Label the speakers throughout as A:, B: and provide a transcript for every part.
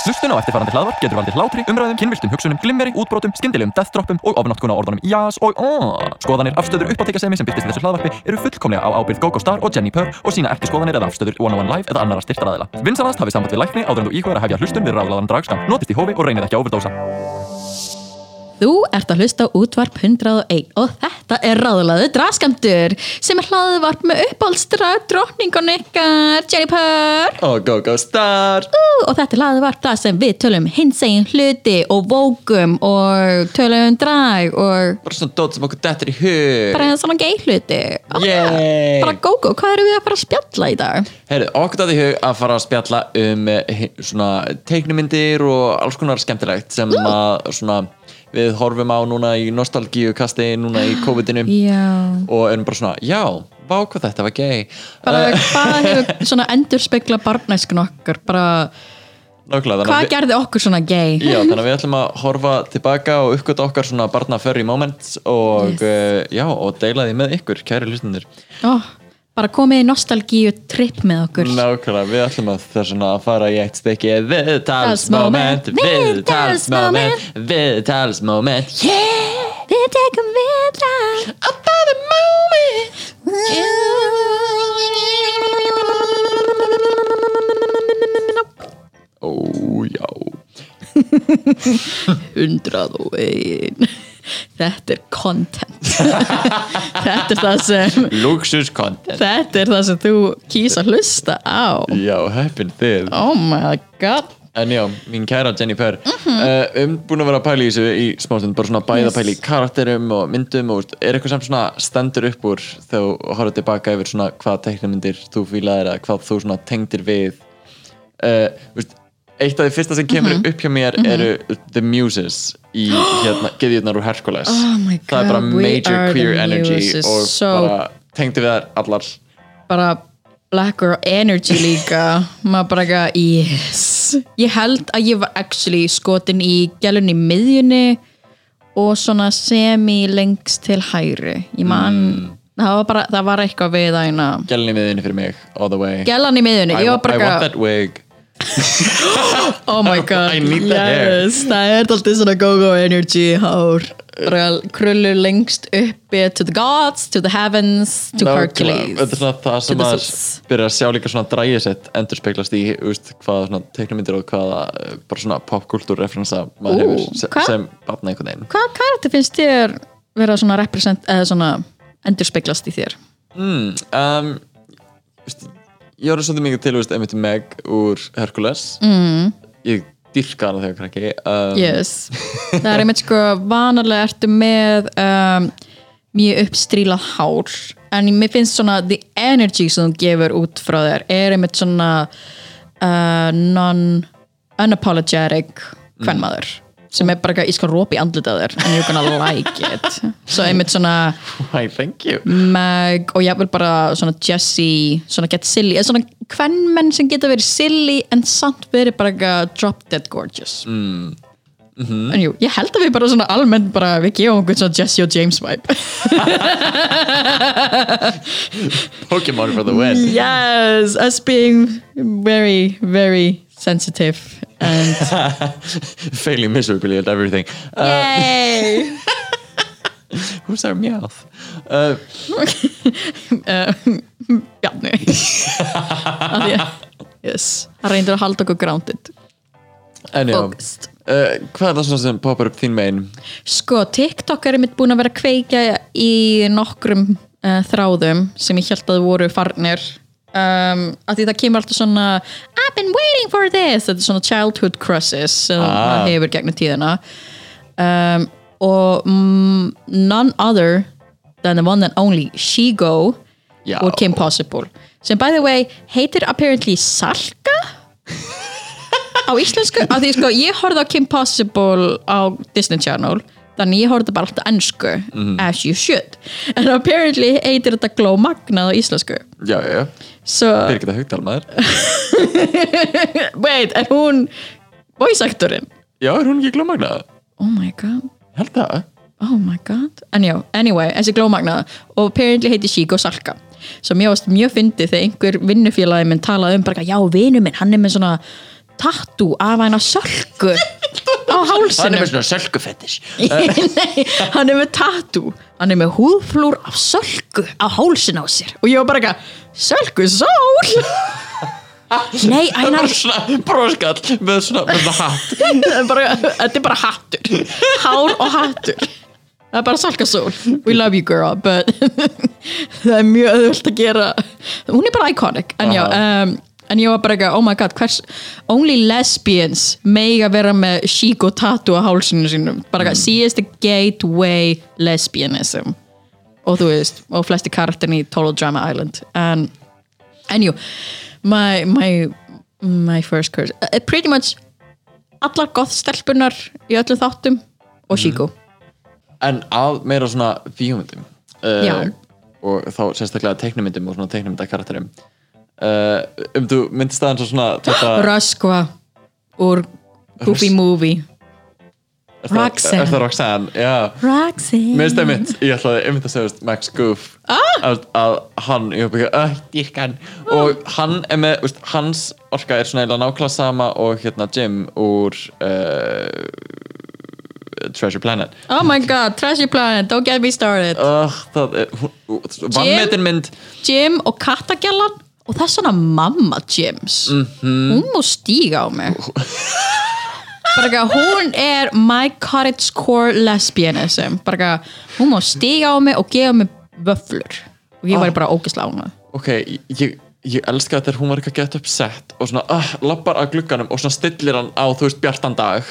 A: Hlustun á eftirfarandi hlaðvarp getur valdið hlátri, umræðum, kynviltum hugsunum, glimmeri, útbrotum, skyndilegum deathtroppum og ofnotkun á orðunum jás og aaaah. Skoðanir, afstöður, uppáttekasemi sem byrtist í þessu hlaðvarpi eru fullkomlega á ábyrgð GoGo Star og Jenni Purr og sína ekki skoðanir eða afstöður One on One Live eða annara styrtaraðila. Vinsanast hafið samband við lækni áður en þú íhugar að hefja hlustun við ráðlaðan dragskam. Notist í hófi og reynið ekki að overdósa.
B: Þú ert að hlusta á útvarp 101 og þetta er ráðlaðu draskamtur sem er hlaðið varp með uppálstra drókningun ykkar Jennifer
A: Og GoGo Star!
B: Ú, og þetta er hlaðið varp það sem við tölum hinsegin hluti og vókum og tölum drag og
A: Bara svona dót sem okkur dettur í hug.
B: bara svona gay hluti Og
A: Yay.
B: bara gógó, hvað erum við að fara að spjalla í dag?
A: Heyrðu, okkur datt í hug að fara að spjalla um eh, hi- svona teiknumyndir og alls konar skemmtilegt sem að svona við horfum á núna í nostalgíu kasti núna í COVID-inu
B: Já
A: og erum bara svona, já, vá hvað þetta var gay
B: bara
A: Eh.
B: hvað hefur svona endur spekla barnæskun okkar bara hvað
A: Nákvæmlega, þannig að við-
B: gerði okkur svona gay?
A: Já, þannig að við ætlum að horfa tilbaka og uppgöta okkar svona barna furry moments og
B: Yes.
A: eh, já, og deila því með ykkur, kæri hlustunir
B: Oh, bara komið í nostalgíu tripp með okkur
A: Nákvæmlega, við ætlum að þess vegna að fara í eitt stykki Viðtalsmoment, viðtalsmoment, viðtalsmoment
B: Yeah, við tekum vitra About the moment
A: Ó, já
B: Hundrað og ein Þetta er content Þetta er það sem
A: Luxus content
B: Þetta er það sem þú kýs að hlusta á
A: Já, heppin þið
B: Oh my god
A: En já, mín kæra Jennifer uh, um búin að vera að pæla í þessu í smástund bara svona bæða
B: Yes.
A: yes. pæla í karakterum og myndum og er eitthvað sem svona stendur upp úr þegar þú horfður tilbaka yfir svona hvað teiknumyndir þú fílaðir eða hvað þú svona tengdir við uh, veist, Eitt af því fyrsta sem kemur
B: Mhm.
A: upp hjá mér eru The Muses í hérna, geðjurnar úr Hercules
B: Oh my
A: Það er bara
B: God, we
A: major
B: are
A: queer
B: the
A: energy
B: Muses,
A: og
B: so-
A: bara tengdi við þær allar
B: bara Black Girl Energy líka maður bara eitthvað, yes ég held að ég var actually skotin í gælunni miðjunni og svona semi lengst til hægri ég man,
A: Hmm.
B: það var bara það var eitthvað við að hérna
A: Gælinni miðinni fyrir mig, all the way
B: gælan í miðjunni,
A: I,
B: ég var
A: wa- I
B: bara
A: want
B: eitthvað
A: that wig
B: oh my god,
A: I need that hair.
B: yes það er alltaf svona go-go energy hár, Bara krullu lengst uppi to the gods, to the heavens to
A: Nákvæmlega. Þetta
B: Hercules
A: er svona það sem
B: the
A: maður
B: Zeus.
A: byrjar að sjá líka svona drægið sitt endur speglast í úst, hvaða svona teiknumyndir og hvaða eh, bara svona popkultúrreferensa maður
B: Ú,
A: hefur se-
B: hvað?
A: sem batna einhvern veginn
B: Hvaða karakter finnst þér vera svona represent eða svona endur speglast í þér?
A: um, úst, Ég voru svolítið mikið til úst, einmitt Meg úr Hercules mm. Ég dyrka hana þegar krakki um,
B: Yes. Það er einmitt sko vanalega ertu með um, mjög uppstrílað hár en mér finnst svona the energy sem þú gefur út frá þér er einmitt svona uh, non unapologetic hvernmaður sem er bara eitthvað, ég skal rópa í andlitað þér and you're gonna like it svo einmitt svona
A: Why, thank you
B: Meg og jafnvel bara svona Jessie, svona get silly eða svona hvern menn sem geta verið silly en samt verið bara eitthvað drop dead gorgeous mm. Mhm. en jú, ég held að við bara svona almennt bara við gefum okkur svona Jessie og James vibe
A: Pokémon for the win
B: Mm. yes, us being very, very sensitive and
A: Failing miserably at everything uh,
B: yay
A: Who's our mouth? Uh,
B: Bjarni Af því að- yes, hann reyndir að halda okkur grounded
A: en já uh,
B: Focused.
A: Hvað er það svona sem poppar upp þín megin?
B: Sko, TikTok er mitt búin að vera að kveikja í nokkrum uh, þráðum sem ég held að voru farnir um, að því það kemur alltaf svona I've been waiting for this þetta er svona childhood crushes sem
A: Ah.
B: ah. hefur gegnum tíðina um, og mm, none other than the one and only Shigo
A: Já.
B: og Kim Possible sem by the way heitir apparently Salka á íslensku af því sko ég horfði á Kim Possible á Disney Channel þannig ég horfði bara alltaf ennsku
A: Mhm.
B: as you should en apparently heitir þetta Glow Magnað á íslensku
A: Já, já, já
B: so
A: Birgitta Haugdal maður
B: wait, er hún voice actorinn?
A: Já, er hún ekki glómagnaða?
B: oh my god
A: Ég held það
B: oh my god en já, anyway, þessi glómagnaða og apparently heiti Chico Salka sem ég varst mjög fyndið þegar einhver vinnufélagi minn talaði um bara, já, vinnu minn, hann er með svona tattoo af hann að sölku á
A: Hann er
B: hálsinum
A: með svona sölkufetis
B: Nei, hann er með tattoo hann er með húðflúr af sölku á hálsin á sér og ég var bara eitthvað, sölku sól nei, Ænar
A: Svona broskall með svona, með svona hatt
B: það er bara, þetta er bara hattur hár og hattur það er bara sölka sól, we love you girl but það er mjög öðvöld að gera hún er bara iconic en já, um, en ég var bara eitthvað, oh my god hvers, only lesbians mega vera með chic og tattoo á hálsinu sínum, bara eitthvað, she is the gateway lesbianism og þú veist, og flesti karakterin í Total Drama Island en anyway, my, my my first curse uh, pretty much allar goth stelpunar í öllum þáttum
A: Mhm.
B: og Shiko
A: En að meira svona bíómyndum uh,
B: Já.
A: Og þá sérstaklega teiknumyndum og svona teiknumyndakarakterum uh, Um þú myndist það eins og svona þetta,
B: Röskva úr Goofy
A: Rös-
B: Movie
A: er það-
B: Roxanne.
A: Er það Roxanne, já Mér
B: Roxy
A: finnst það mitt, ég ætlaði einmitt að segja þú veist, Max Goof að, að hann, ég hef ekki öll dýrkan og hann er með, veist, hans orka er svona eiginlega nákvæmlega sama og hérna Jim úr uh, Treasure Planet
B: Oh my god, Trashy Planet, don't get me started
A: uh, það er, hún, vannmetin mynd
B: Jim og Katagjallan og það er svona mamma Jims
A: Mhm.
B: hún má stíga á mig bara ekki að hún er my cottage core lesbianism bara ekki að hún má stíga á mig og gefa mig vöflur og ég
A: Ah.
B: væri bara ógislega á mig
A: ok, ég, ég elska þetta þegar hún var ekki að geta uppsett og svona uh, lappar að glugganum og svona stillir hann á þú veist bjartan dag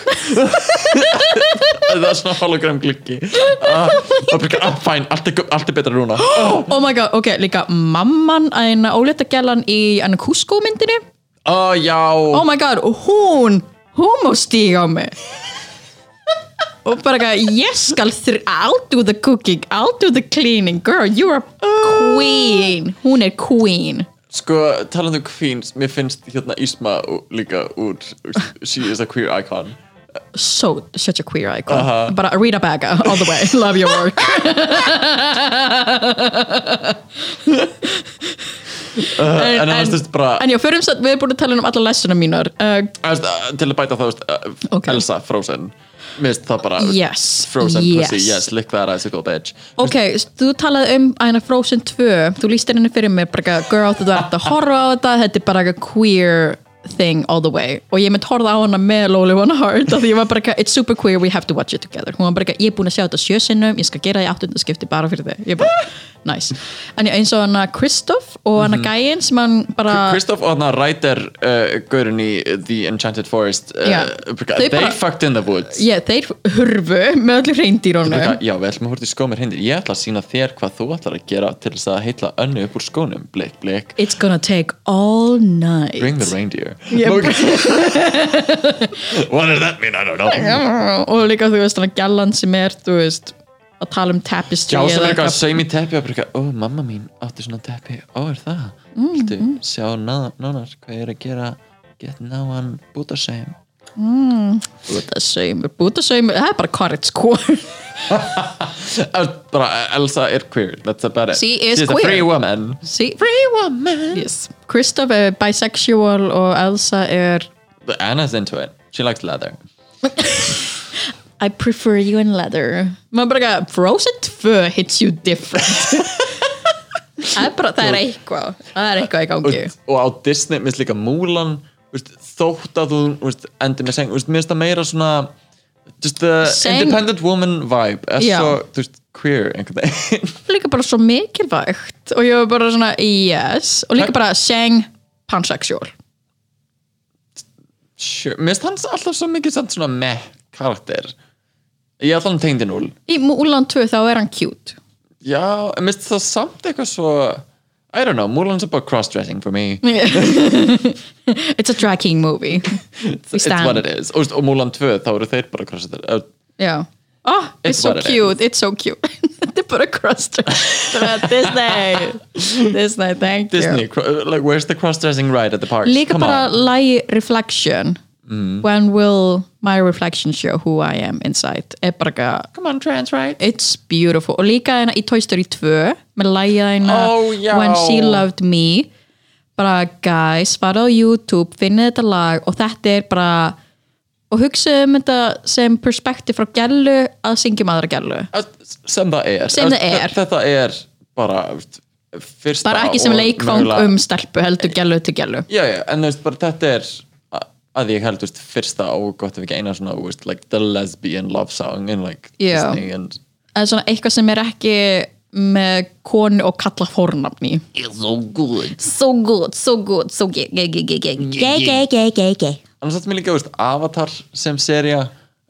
A: það er svona hologram gluggi uh, og bara ekki, uh, fæn, allt er, gu- allt er betra núna uh,
B: oh my god, ok, líka mamman en óleita gælan í enn Cusco myndinni
A: uh, já
B: oh my god, og hún hún má stíga á mig og bara eitthvað ég skal þr, I'll do the cooking I'll do the cleaning, girl, you're a queen, hún er queen
A: Sko, talandu queens, mér finnst hérna Ísma ú- líka úr She is a queer icon
B: so, such a queer icon bara Rita Baga, all the way, love your work
A: Uh, En annars þú veist bara,
B: en já, förum satt, við erum búin að tala um alla lessuna mínar uh,
A: þú veist, uh, til að bæta það, þú veist, uh,
B: Ok.
A: Elsa Frozen Mér finnst það bara, þú veist,
B: Yes,
A: Frozen
B: yes.
A: pussy, yes, lick that icicle bitch
B: Ok, þú talaði um æna Frozen 2 þú líst henni fyrir mér bara eitthvað, girl þú ert að horfa á þetta, þetta er bara eitthvað queer thing all the way og ég mynd horfa á hana með Loli One Heart af því ég var bara eitthvað, it's super queer, we have to watch it together hún var bara eitthvað, ég er búin að sjá þetta sjösinnum ég skal gera það í áttundaskipti bara fyrir þig ég bara, nice, en ég eins og hana Kristoff og hana Gæin sem hann bara
A: Kristoff og hann rætir uh, gaurinn í The Enchanted Forest uh,
B: Já.
A: bara,
B: Þau
A: They
B: bara-
A: fucked in the woods
B: yeah, þeir hurfu með öllu reyndýrónu
A: Já, við ætlum að horfa til skómir hindi Ég ætla að sína þér hvað þú ætlar að gera til þess að heitla önnu upp úr skónum Blik, blik,
B: it's gonna take all night
A: bring the reindeer
B: Ég-
A: What does that mean? I don't know
B: og líka þú veist hann gælan sem er þú veist að tala um tapestry
A: Já,
B: eða
A: sem er eitthvað að segjum í teppi og bara eitthvað, ó, mamma mín átti svona teppi, ó, er það?
B: Mm,
A: Viltu sjá ná- nánar hvað ég er að gera get náan búta segjum?
B: bútasaumur, bútasaumur, það er bara courage core
A: Bara, Elsa er queer, that's about it.
B: She is
A: She's a
B: queer.
A: free woman.
B: See, free woman yes. Kristoff er bisexual og Elsa er
A: But Anna's into it. She likes leather.
B: I prefer you in leather maður bara ekki Frozen 2 hits you different það er bara, það er eitthvað það er eitthvað í gangi
A: Og á Disney, minnst líka Mulan, veist, þótt að þú veist, endur með segjum, veist, minnst það meira svona just the
B: Seng-
A: independent woman vibe, er
B: Já.
A: svo, þú veist, queer einhvern veginn.
B: líka bara svo mikilvægt og ég var bara svona yes og líka bara sang pansexual
A: Sure. Mér finnst hans alltaf svo mikið samt svona meh karakter Ég ætla hann tengdi núl
B: í Mulan 2 þá er hann cute
A: Já, en mér finnst það samt eitthvað svo I don't know, Mulan's about cross-dressing for me
B: It's a drag king movie We
A: It's
B: stand.
A: what it is Og, og Mulan 2, þá eru þeir bara Uh, cross-dressing
B: Já Oh, it's,
A: It's
B: so
A: what it
B: cute, it's so cute Þetta er bara crustur Disney Disney, thank
A: Disney,
B: you
A: cro- uh, like, where's the cross-dressing ride at the parks?
B: Líka
A: Come
B: bara
A: on. Mm.
B: lagi Reflection When will my reflection show who I am inside er bara eitthvað
A: Come on, trans ride
B: It's beautiful og líka hérna í Toy Story 2 með lægið hérna
A: Ó, Oh, já.
B: When She Loved Me bara guys, fara á YouTube finna þetta lag og þetta er bara og hugsa um þetta sem perspektíf frá gælu að syngjum aðra gælu
A: sem það er
B: Sem það er.
A: þetta er bara þú veist, fyrsta
B: bara ekki sem
A: og
B: leikfang
A: mögulega-
B: um stelpu heldur gælu til gælu
A: já, já, en þú veist, bara þetta er a- að ég held, þú veist, fyrsta og gott ef ekki eina svona, þú veist, like the lesbian love song in like
B: Já.
A: Disney and
B: eða svona eitthvað sem er ekki með konu og kalla fórnafni
C: It's so good.
B: so good, so good, so gay, gay, gay, gay, gay.
C: Gay, gay, gay, gay, gay.
A: annars þetta mér líka, þú veist, Avatar sem seria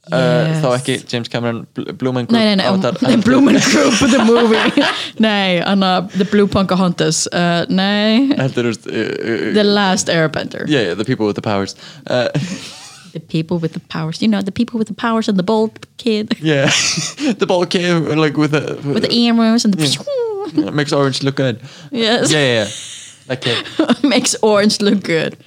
B: Yes.
A: uh, þá ekki James Cameron Bl- Blue Man Group
B: Nei, nei, um, nei,
A: Avatar,
B: The
A: en-
B: Blue Man Group, the movie Nei, anna, The Blue Pocahontas uh, Nei,
A: Þetta er, þú veist, uh, uh,
B: The Last Airbender
A: yeah, yeah, the people with the powers uh,
B: The people with the powers, you know, the people with the powers and the bold kid
A: yeah, the ball came like with the,
B: with the earrings and the
A: makes orange look good
B: Yes,
A: Mm. yeah, yeah, yeah, that kid
B: makes orange look good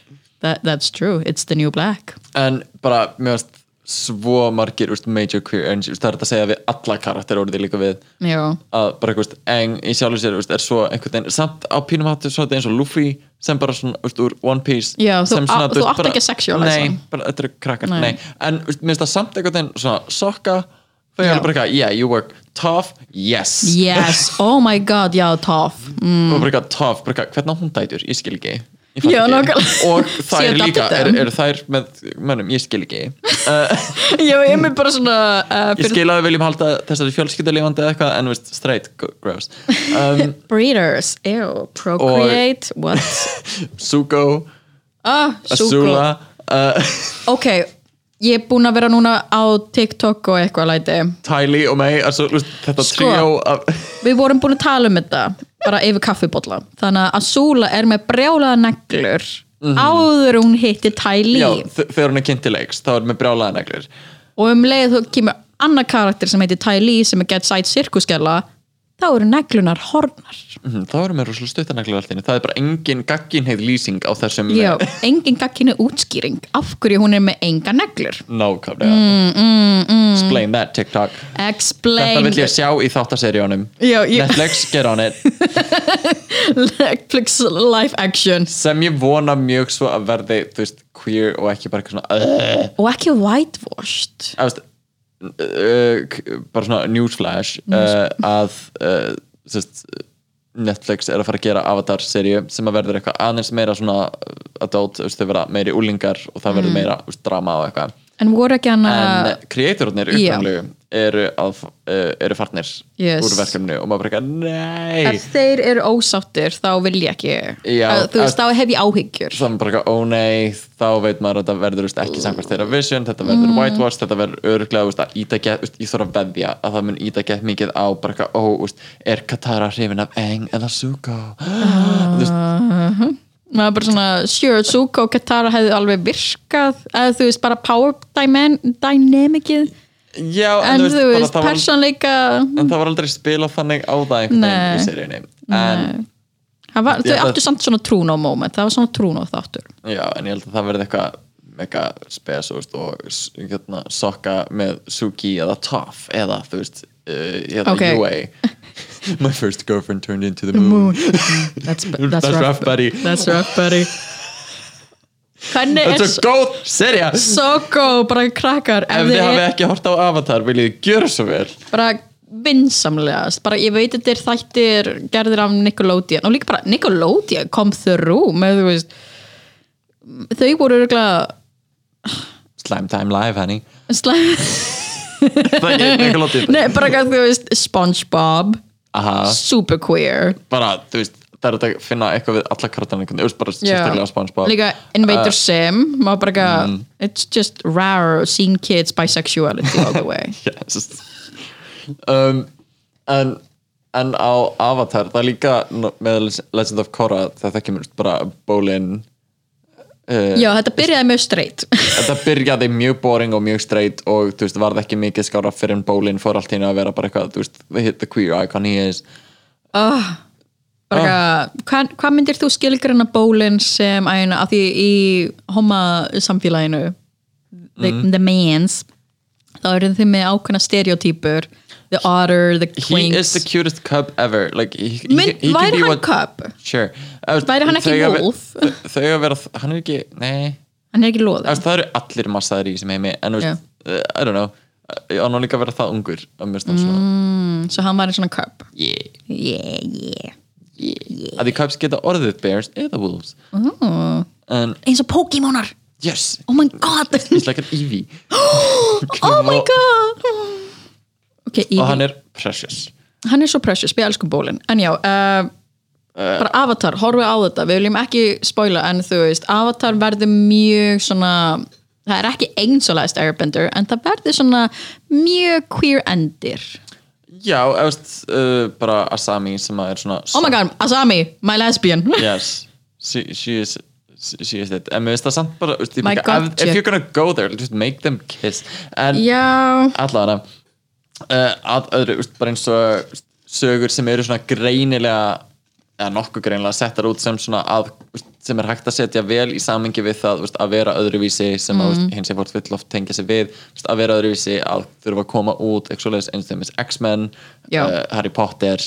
B: That, that's true, it's the new black
A: en bara mér varst svo margir úst, major queer energy úst, það er þetta að segja við alla karakter orðið líka við
B: Já,
A: að bara eitthvað úst, eng í sjálfu sér úst, er svo einhvern veginn samt á pínum hattu svo þetta eins og Luffy sem bara svona úst, úr One Piece
B: Já, þú
A: sem
B: á-
A: úst,
B: þú átt ekki að sexualize
A: nei,
B: hann.
A: bara þetta eru krakkar
B: Nei.
A: nei. en úst, mér finnst það samt einhvern veginn svona sokka þau
B: Já.
A: er bara eitthvað yeah you work tough yes
B: yes, oh my god, já, tough mm.
A: og bara eitthvað tough bara eitthvað hvernig á hún dætur ég skil ekki Ég fatt
B: Já,
A: ekki.
B: nákvæmlega.
A: og
B: She
A: þær
B: adopted
A: líka,
B: them.
A: eru er þær með mönnum, ég skil ekki
B: Já, ég er mér bara svona uh,
A: ég skil að við viljum halda þessari fjölskyldu lifandi eða eitthvað en veist, straight, g- gross um,
B: breeders, ew, procreate what?
A: Sugo,
B: Ah,
A: Azula uh,
B: súkkula. Ok, ég er búin að vera núna á TikTok og eitthvað læti
A: Tylee og May altså, veist, þetta
B: Sko.
A: sko. tríó af,
B: Við vorum búin að tala um þetta bara yfir kaffibólla þannig að Azula er með brjálaða neglur áður en hún hitti
A: Mhm. já,
B: Tylee
A: þ- þegar hún er kynnt til leiks þá er með brjálaða neglur
B: og um leið þú kemur annar karakter sem heitir Tylee sem er Get Side Circusgella þá eru neglunar hornar
A: Mhm, þá erum við rosalega stuttanaglur alltaf það er bara engin gagginheið lýsing á þessum
B: Já, engin gagginu útskýring af hverju hún er með enga neglur
A: nákvæmlega mm, mm, mm. explain that TikTok þetta
B: Explain
A: vill ég sjá í þáttaseríunum
B: Já, ég-
A: Netflix, get on it
B: Netflix live action
A: sem ég vona mjög svo að verði þú veist, queer og ekki bara eitthvað svona uh,
B: og ekki whitewashed
A: að, veist, uh, k- bara svona newsflash uh, að uh, þú veist, Netflix er að fara að gera Avatar-seríu sem að verður eitthvað aðeins meira svona uh, adult, þú veist, þau verða meiri úlingar og það
B: Mm.
A: verður meira þú veist, drama og eitthvað
B: en voru ekki hann
A: en
B: að
A: uh, kreatórnir
B: Ah. já.
A: uppnámlegu eru, að f- uh, eru farnir
B: Yes.
A: úr verkefni og maður bara eitthvað, nei
B: ef þeir eru ósáttir þá vil ég ekki
A: Já,
B: að, þú veist,
A: að-
B: þá hef ég áhyggjur
A: þannig bara eitthvað, ó nei, þá veit maður að þetta verður veist, ekki samkvæmt þeirra vision, þetta verður
B: Mhm.
A: whitewash, þetta verður örglega veist, að íta get, veist, ég þarf að veðja að það mun íta get mikið á bara eitthvað, ó, veist, er Katara hrifin af Eng eða Zuko veist,
B: maður er bara svona, sure, Zuko og Katara hefðu alveg virkað eða þú veist, bara power dyman, dynamicið
A: já,
B: en þú
A: bara
B: veist,
A: það var,
B: persónleika
A: en það var aldrei spila þannig á það einhvern
B: Nei.
A: veginn í seríunni en,
B: það var- þau
A: Ég-
B: áttu samt svona trúnó moment það var svona trúnó þáttur
A: já, en ég held að það verði eitthvað mega spes þú veist, og s- hérna, sokka með Suki eða Toph eða þú veist uh, eða
B: Ok.
A: Yue my first girlfriend turned into the moon.
B: that's,
A: That's rough, buddy.
B: that's rough buddy hvernig er
A: Þetta er góð serja Ef
B: Soko, bara krakkar ef,
A: þið
B: þið
A: hafið
B: er-
A: ekki hort á Avatar viljið þið gjöra svo vel
B: bara vinsamlegast bara ég veit þetta er þættir gerðir af Nickelodeon og líka bara Nickelodeon kom through með þú veist þau voru örgulega
A: Slime Time Live, henni
B: slæm
A: Það er ekki ekki lotið
B: Nei, bara hvað þú veist Spongebob,
A: Aha,
B: super queer
A: bara, þú veist, það er þetta að finna eitthvað við alla kartan einhvern veginn, bara sérstaklega spánsbá
B: líka Invader
A: Uh,
B: Sim maður bara eitthvað,
A: mm.
B: it's just rare seeing kids bisexuality all the way
A: yes. um, en, en á Avatar, það er líka no- með Legend of Korra, þetta kemur bara bólin
B: já, þetta byrjaði mjög straight
A: þetta byrjaði mjög boring og mjög straight og þú veist, varð ekki mikið skára fyrir en bólin fór allt hérna að vera bara eitthvað, þú veist, hit the queer icon he is
B: bara
A: Ah.
B: eitthvað, hvað hva myndir þú skilgrana bólin sem æna, að því í homa
A: Mm.
B: samfélaginu the, the mans þá eru þið með ákveðna stereotypur the otter, the
A: He is
B: twinks
A: the cutest cub ever like, he, he,
B: Mynd-
A: he
B: væri
A: can be
B: hann
A: what-
B: cub?
A: Sure Þú veist,
B: Væri hann ekki
A: þau að ver-
B: wolf?
A: þau- Þau að vera, hann er ekki, nei
B: hann er ekki loður
A: Þú veist, það eru allir massaðir í þessum heimi en þú veist, yeah. I don't know og hann var líka að vera það ungur að mér stað svona
B: Mm. svo hann var í svona cup
A: yeah,
C: Yeah, yeah.
A: yeah. að því cubs geta orðið bears eða wolves
B: Oh.
A: en
B: eins og Pokémonar,
A: yes,
B: oh my god
A: it's like an Eevee
B: oh my god ok, Eevee.
A: og
B: hann,
A: hann er precious
B: er... svo precious, við elskum bólin en já, uh, bara Avatar horfið á þetta, við viljum ekki spoila en þú veist, Avatar verður mjög svona, það er ekki einsólæðist Airbender, en það verður svona mjög queer endir
A: já, eða veist, uh, bara Asami sem að er svona
B: oh my god, Asami, my lesbian
A: yes, she, she is she is it, en mér finnst það samt bara þú veist, ég
B: My
A: bara,
B: God,
A: if, if
B: Jack.
A: you're gonna go there, just make them kiss en
B: já,
A: allavega uh, að öðru, úst, bara eins og úst, sögur sem eru svona greinilega eða nokkuð greinilega settar út sem svona að, úst, sem er hægt að setja vel í samingi við það úst, að vera öðruvísi sem mm. að úst, hins eða fólk vill oft tengja sig við úst, að vera öðruvísi að þurfa að koma út eitthvað svoleiðis, eins og þeim X-Men
B: Já. Mm.
A: uh, Harry Potter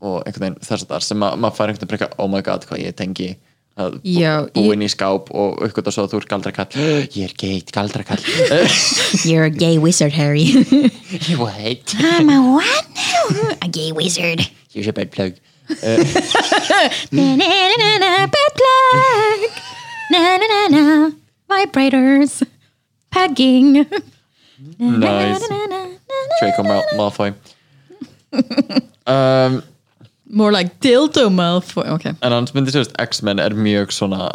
A: og einhvern veginn þess að þar sem að maður fær einhvern veginn breyka, oh my god hvað ég tengi að bú-
B: Já, ég-
A: búin í skáp og eitthvað svo að þú er galdrakall ég er geit galdrakall
C: You're a gay wizard, Harry.
A: what?
C: I'm a what now? A gay wizard.
A: Here's a bad plug
C: Na na na na, butt plug. Na na na na, vibrators. Pegging.
A: Nice.
C: Na, na, na.
A: Draco Mal Malfoy um,
B: more like dildo Malfoy ok,
A: En hans myndi sérst X-Men er mjög svona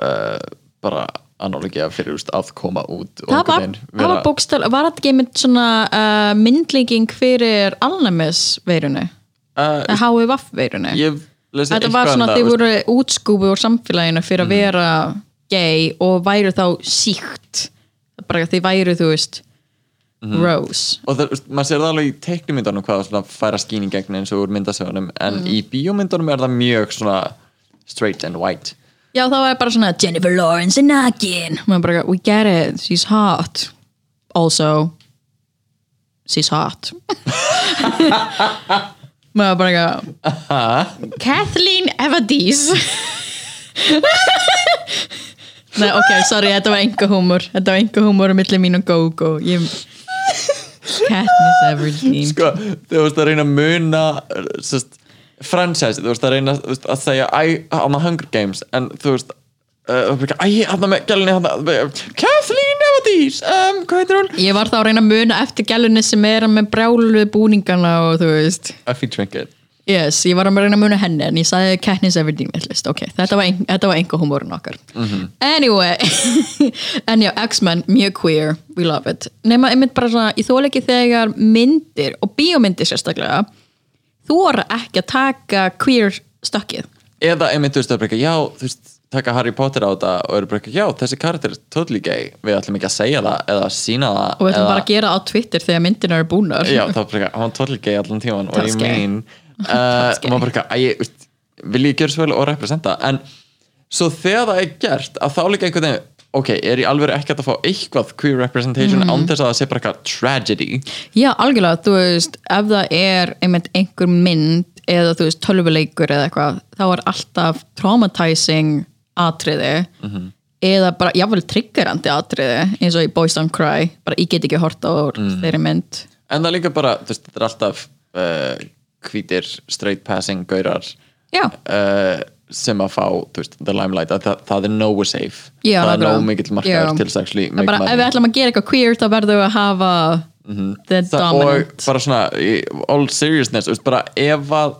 A: uh, bara analogía fyrir úst, að koma út
B: það
A: og
B: var,
A: einhvern veginn
B: það var bókstæl var þetta ekki einmitt svona uh, myndlíking fyrir alnæmis veirunu
A: uh,
B: HVV veirunu
A: Ég lesi
B: þetta var svona að þið
A: úst,
B: voru útskúfi úr samfélaginu
A: Mhm.
B: fyrir að vera gay og væru þá síkt bara að þið væru þú veist
A: Mhm.
B: rose
A: og það, úst, maður sér það alveg í teiknumyndunum hvað svona færa skín í gegn eins og úr myndasögunum en
B: Mm.
A: í bíómyndunum er það mjög svona straight and white
B: já það var bara svona Jennifer Lawrence and again Maður bara, we get it, she's hot also she's hot maður bara Kathleen Evadís Nei, ok, sorry, þetta var enga húmor Þetta var enga húmor um milli mín og Gogo ég... Katniss Everdeen
A: sko, þú veist að reyna að muna sest, franchise, þú veist að reyna þú veist, að segja, æ, hann að Hunger Games en þú veist Uh, æ, hann með gælinni hann Kathleen Evadís, um, hvað heitir hún?
B: Ég var þá að reyna að muna eftir gælunni sem er með brjálu búningana og þú veist
A: Effie Trinket
B: Yes, ég var að reyna að muna henni en ég sagði Katniss Everdeen villist, ok, þetta var, ein, þetta var enga humorinn okkar Anyway En já, X-Men, mjög queer We love it Nefna einmitt bara svona, ég þóla ekki þegar myndir og bíómyndir sérstaklega þú voru ekki að taka queer stökkið
A: eða einmitt, þú veist, það er bara ekki, já, þú veist taka Harry Potter á þetta og eru bara ekki, já, þessi karakter er totally gay, við ætlum ekki að segja það eða sína það
B: og við ætlum
A: eða-
B: bara að gera það á Twitter þegar myndina eru búnar
A: já, það var bara eitthvað, hann var totally gay allan tíman og ég
B: That's gay.
A: mean uh,
B: gay.
A: og maður bara eitthvað, æ, ég, veist, vil ég gera svo vel og representa, en svo þegar það er gert, að þá líka einhvern veginn ok, er ég alveg ekki hægt að fá eitthvað queer
B: Mhm.
A: representation án þess að það sé bara eitthvað tragedy
B: Já, algjörlega, þú veist, ef það er einmitt einhver mynd eða þú veist, tölvuleikur eða eitthvað þá er alltaf traumatizing atriði
A: Mhm.
B: eða bara, jáfnvel triggerandi atriði eins og í Boys Don't Cry, bara ég get ekki hort á
A: Mhm.
B: þeirri mynd
A: en það er líka bara, þú veist, þetta er alltaf uh, hvítir, straight passing gaurar
B: Já,
A: uh, sem að fá, þú veist, the limelight að það, það er nógu safe
B: já
A: það er
B: nákvæmlega.
A: nógu mikill markaður
B: Já.
A: til þess að actually
B: Það er
A: make
B: bara,
A: money.
B: Ef við ætlum að gera eitthvað queer þá verðum við að hafa the
A: það,
B: dominant
A: Mhm. og bara svona í all seriousness veist, bara ef að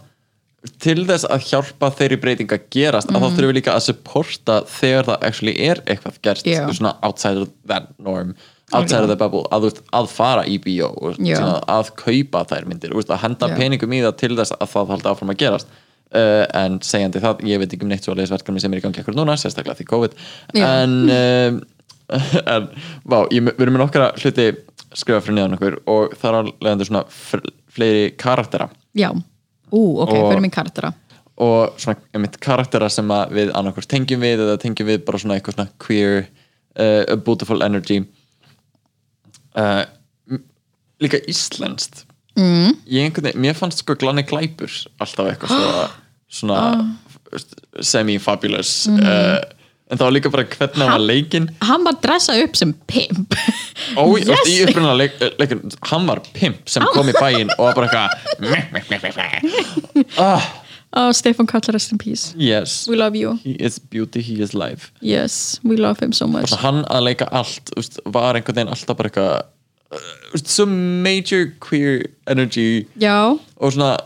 A: til þess að hjálpa þeirri breyting að gerast að
B: Mhm.
A: þá þurfum við líka að supporta þegar það actually er eitthvað gert
B: Já.
A: svona outside of that norm outside of the bubble, að, þú veist, að fara í bíó og
B: Já.
A: svona, að kaupa þær myndir þú veist, að henda
B: Já.
A: peningum í það til þess að það haldi áfram að gerast uh, en segjandi það, ég veit ekki um neitt svo leisverkefni sem er í gangi akkur núna, sérstaklega því COVID
B: Já.
A: en um, en, vá, ég, við erum með nokkara hluti skrifa fyrir neðan okkur og það er alveg endur svona fl- fleiri karaktera
B: Já, ú, ok,
A: Og-
B: fyrir minn karaktera
A: og svona einmitt karaktera sem að við annarkvæmst tengjum við eða tengjum við bara svona eitthvað svona queer uh, a beautiful energy uh, m- líka íslenskt mm. ég einhvern veginn, mér fannst sko glanni glæpur alltaf eitthvað svona, svona Ah. semi-fabulous uh, en það var líka bara hvernig hann var leikinn
B: hann var dressað upp sem pimp
A: Ó, yes. Oh. í upprunna leik, leikin, uh, hann var pimp sem kom í bæinn og var bara eitthvað meh, meh, meh, meh, meh.
B: oh, Stefan Kallar, rest in peace
A: yes,
B: we love you,
A: he is beauty, he is life
B: yes, we love him so much
A: Bara hann að leika allt úst, var einhvern veginn alltaf bara eitthvað úst, some major queer energy
B: já,
A: og svona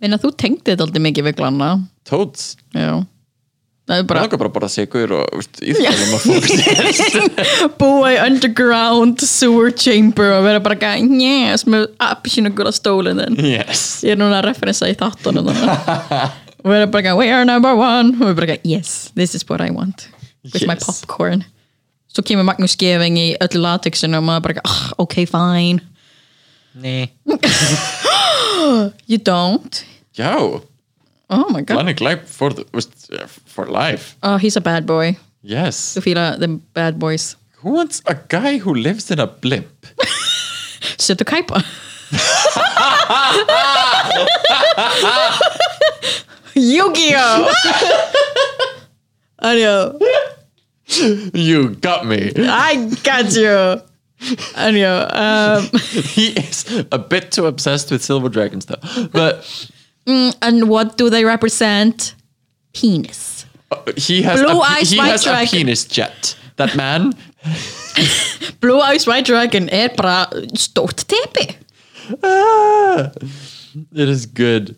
B: minna þú tengdi þetta aldrei mikið við glanna
A: tóts
B: já það er
A: bara
B: bara
A: langar bara að borða sigur og úst, íþjóðum að fólk
B: búa í underground sewer chamber og vera bara gæ, yes, með appsinu gula stólinn þinn
A: yes
B: ég er núna að referensa í þáttunum þannig og vera bara gæ, we are number one og við bara gæ, yes, this is what I want with my
A: Yes.
B: popcorn svo kemur Magnús Geving í öllu latexinu og maður bara gæ, oh, ok, fine
A: Nei.
B: you don't,
A: já,
B: oh my god
A: Lanny Glæp for, the- úst, for life
B: oh, he's a bad boy,
A: yes
B: þú fýla the bad boys
A: who wants a guy who lives in a blimp
B: setu kæpa Yu-Gi-Oh! Anjó,
A: you got me
B: I got you Anjó um,
A: he is a bit too obsessed with silver dragon stuff but
B: And what do they represent? Penis
A: he has,
B: Blue
A: a,
B: eyes,
A: he
B: white
A: has a
B: dragon.
A: penis jet that man
B: Blue Eyes White Dragon er bara stórt tepi
A: ah, it is good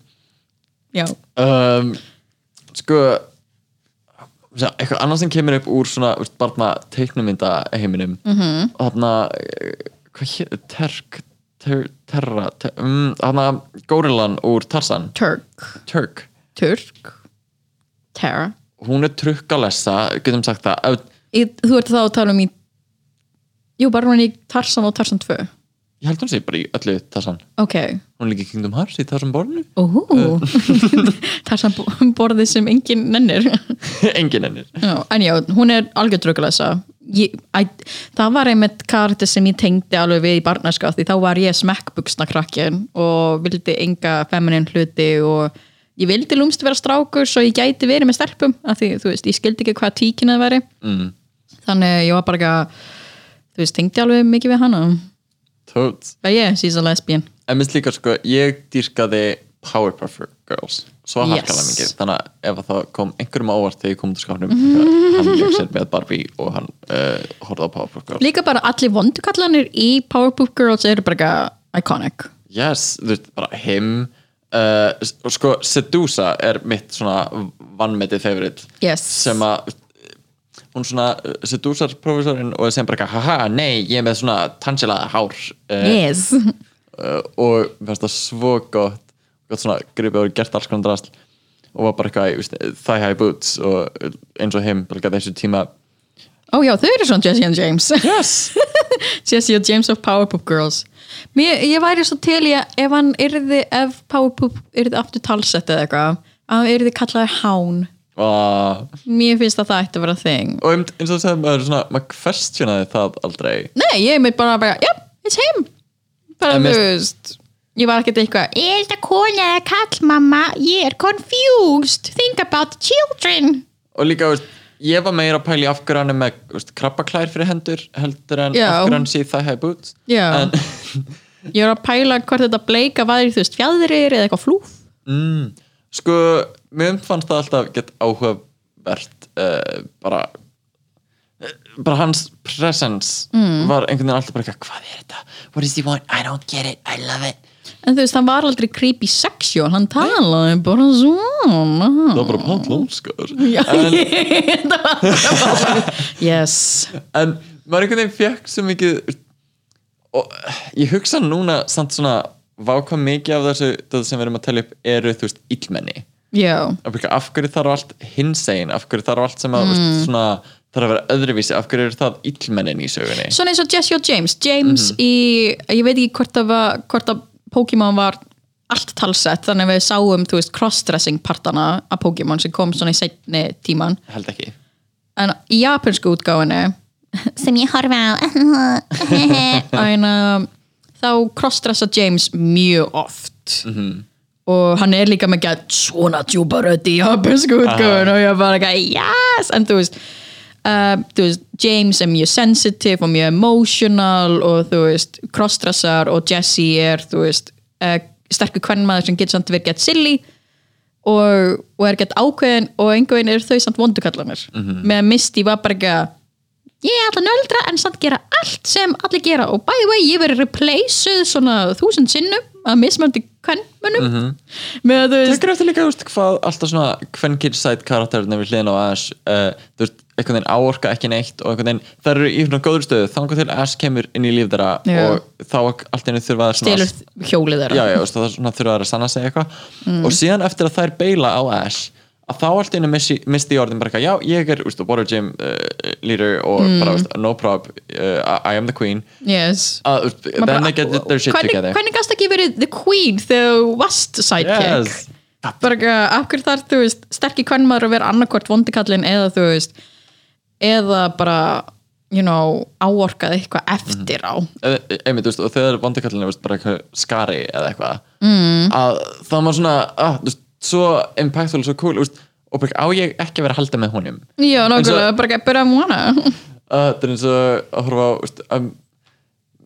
B: Já,
A: um, sko svona, eitthvað annað sem kemur upp úr svona veist, barna teiknumynda heiminum -hmm. og þarna eh, hvað hér, terk ter, terra, ter, um, þarna górillan úr Tarsan,
B: Turk
A: Turk
B: Turk Terra
A: hún er trukkalessa, getum sagt það Ef-
B: Í, Þú ert þá að tala um í Jú, bara hún er í Tarsan og Tarsan 2
A: ég held hún sé bara í öllu Tarsan
B: Ok,
A: hún er líka í Kingdom Hearts í Tarsan borðinu
B: Óhú, það er samt borðið sem enginn nennir.
A: engin ennir
B: Já, en já, hún er algjör draugalessa. Ég, æ, það var einmitt karakter sem ég tengdi alveg við í barnaska því þá var ég smekkbuksna krakkin og vildi enga feminin hluti og ég vildi lúmst vera strákur svo ég gæti verið með stelpum af því, þú veist, ég skildi ekki hvað tíkina það væri mm. þannig ég var bara ekki að þú veist, tengdi alveg mikið við hana
A: Toads.
B: but yeah, she's a lesbian
A: en minnst líka sko, ég dýrkaði Powerpuff Girls svo
B: Yes.
A: harkalega mikið, þannig að ef að það kom einhverjum á óvart þegar ég kom út úr skáfnum hann leik sér með Barbie og hann uh, horfði á Powerpuff Girls
B: líka bara allir vondukallanir í Powerpuff Girls eru bara eitthvað iconic
A: yes, þú veist, bara him uh, s- og sko, Sedusa er mitt svona vannmetið favorite
B: Yes.
A: sem að hún svona uh, Sedusar profesorinn og sem bara eitthvað, haha, nei, ég er með svona tansilaða hár uh,
B: yes,
A: uh, og mér finnst það svo gott gott svona gripið og gert alls konar drasl og var bara eitthvað í veist, thigh high boots og eins og him bara gæti þessu tíma
B: ó já þau eru svona Jesse and James
A: yes
B: Jesse and James of Powerpuff Girls Mér, ég væri svo til ég ef hann yrði, ef Powerpuff yrði aftur talsett eða eitthvað að hann yrði kallaður Hán
A: og,
B: mér finnst að það ætti að vera þing
A: Ah. og einmitt eins og það sem maður svona maður questionaði það aldrei
B: nei, ég er mér bara bara, yep, it's him bara
A: En
B: þú
A: mér-
B: veist ég var ekkert eitthvað,
C: Er þetta kona eða kall, mamma? Ég er confused. Think about the children.
A: og líka veist, ég var meira að pæla í af hverju hann er með veist, krabbaklær fyrir hendur heldur en
B: Já.
A: af hverju hann sé thigh high boots
B: Já.
A: en
B: ég er að pæla hvort þetta bleika væri, þú veist, fjadrir eða eitthvað flúf
A: sko, mér fannst það alltaf gett áhugavert uh, bara eh, bara hans presence var einhvern veginn alltaf bara eitthvað, hvað er þetta? What does he want? I don't get it, I love it
B: En þú veist, hann var aldrei creepy sexual, hann talaði bara svona.
A: Það var bara sko. pálómskar
B: Já, ég- það var bara- yes.
A: en maður einhvern veginn fekk svo mikið og eh, ég hugsa núna samt svona váka mikið af þessu það sem við erum að telja upp eru þú veist illmenni
B: Já,
A: Af hverju- af hverju þarf allt hinsegin af hverju þarf allt sem að mm. svona, þarf að vera öðruvísi, af hverju eru það illmennin í sögunni
B: svona eins og Jesse og James. James í, ég veit ekki hvort að, var, hvort að Pokémon var allt talsett, þannig að við sáum, þú veist, crossdressing partana af Pokémon sem kom svona í setni tíman.
A: held ekki
B: En í japansku útgáinu,
C: Sem ég horfa á.
B: en um, þá crossdressa James mjög oft og hann er líka með gett svona djúpa rödd í japansku útgöfun og ég er bara ekki, yes en þú veist, uh, þú veist James er mjög sensitive og mjög emotional og þú veist crossdressar og Jesse er þú veist uh, sterkur kvennmaður sem getur samt verið gett silly og, og er gett ákveðin og einhvern veginn eru þau samt vondukallanir mm -hmm. með að Misty var bara ekki að ég er alltaf nöldra en samt gera allt sem allir gera og by the way ég verið replaceð svona þúsund sinnum að mismöndi kvennmönnum mm -hmm. með að þú veist
A: Tekur eftir líka, þú veist, hvað alltaf svona kvenkinsæt karakterinn við hliðin á Ash uh, þú veist, einhvern veginn áorka ekki neitt og einhvern veginn, þær eru í svona góður stöðu þangar til Ash kemur inn í líf þeirra
B: Já.
A: og þá allt einu þurfa þær svona
B: stelur hjólið þeirra
A: já, já, og það er svona þurfa þær að sanna sig eitthvað
B: Mm.
A: og síðan eftir að þær beila á Ash að þá allt einu missi, misti í orðin bara eitthvað, já, ég er, úst, water gym uh, leader og
B: Mm.
A: bara, úst, no prob uh, I am the queen
B: yes.
A: uh, then they get their shit
B: hvernig,
A: together
B: hvernig gasta ekki verið the queen þegar þú varst sidekick
A: Yes.
B: bara ekki, af hverju þar þú veist sterkir kvennmaður að vera annarkvort vondikallin eða þú veist eða bara, you know áorkað eitthvað eftir á
A: Eh, einmitt, þú veist, og þegar vondikallinu veist, bara eitthvað skari eða eitthvað mm. að það var svona að, þú veist, svo impactful, svo cool þú veist, og bara á ég ekki að vera að halda með honum
B: já, nákvæmlega,
A: Eins og-
B: bara ekki að byrja um hana
A: að það er eins og að horfa á þú veist, að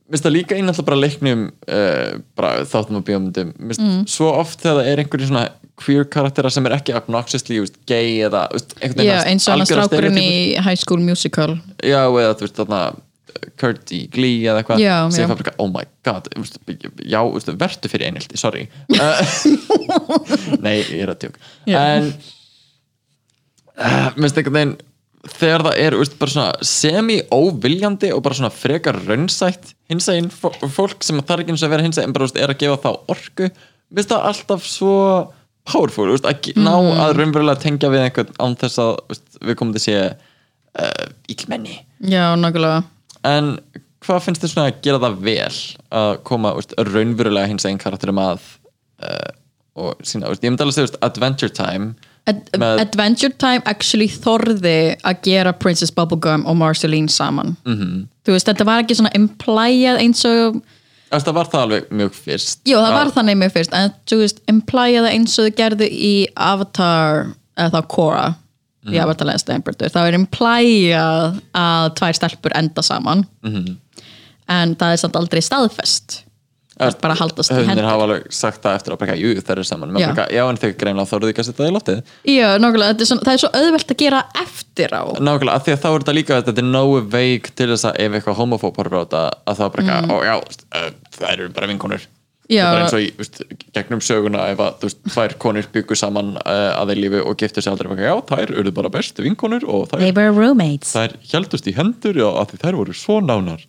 A: Mér finnst það líka inn alltaf bara leiknum uh, bara þáttum og bíómyndum Mér
B: Mm.
A: finnst svo oft þegar það er einhverjum svona queer karaktera sem er ekki obnoxiously þú veist, gay eða þú veist, einhvern
B: já,
A: svona
B: eins og hann
A: algjöra
B: strákurinn í
A: stereotypur.
B: High School Musical
A: Já, eða þú veist þarna Kurt í Glee eða eitthvað
B: Já,
A: sem
B: já.
A: ég fæ bara, oh my god þú veist, já, þú veist, vertu fyrir einhildi, sorry uh, Nei, ég er að tjók
B: Já.
A: En uh, minnst einhvern veginn þegar það er þú veist, bara svona semi-óviljandi og bara svona frekar raunsætt hinsegin fó- fólk sem þarf ekki eins og að vera hinsegin bara þú veist, er að gefa þá orku minnst það alltaf svo powerful þú veist, að ge- ná
B: Mm.
A: að raunverulega tengja við einhvern án þess að þú veist, við komum til sé uh, íllmenni
B: já, nákvæmlega
A: en hvað finnst þið svona að gera það vel að koma þú veist, raunverulega hinsegin karakterum að uh, og sína, þú veist, ég myndi alveg að segja þú veist, Adventure Time
B: Ad
A: Með-
B: Adventure Time actually þorði að gera Princess Bubblegum og Marceline saman -hmm. þú veist, þetta var ekki svona implæjað eins og
A: Þú veist, Það var það alveg mjög fyrst
B: Jú, það
A: Að-
B: var þannig mjög fyrst en þú veist, implæjaði eins og þau gerðu í Avatar, eða þá Korra í Avatar Last Emperor þá er implæjað að tvær stelpur enda saman en það er samt aldrei staðfest Það er bara að haldast í
A: höfnir
B: hendur.
A: hafa alveg sagt það eftir að bara, jú, þær eru saman
B: Já.
A: já. Bara, já, en þau greinlega þóruðu ekki að setja það í loftið
B: Já, nákvæmlega, þetta er svona, það er svo auðvelt að gera eftir á
A: nákvæmlega, af því að þá er þetta líka þetta er nógu veik til þess að ef eitthvað homofób horfir á þetta, að það bara eitthvað, ó já uh, þær eru bara vinkonur
B: Mm. Já.
A: Það er bara eins og í, veist, gegnum söguna ef að þú veist, tvær konur byggu saman uh, að þeir lífi og giftu sig aldrei bara, já, þær eru bara bestu vinkonur og þær,
B: were roommates
A: þær heldust í hendur já, að því þær voru svo nánar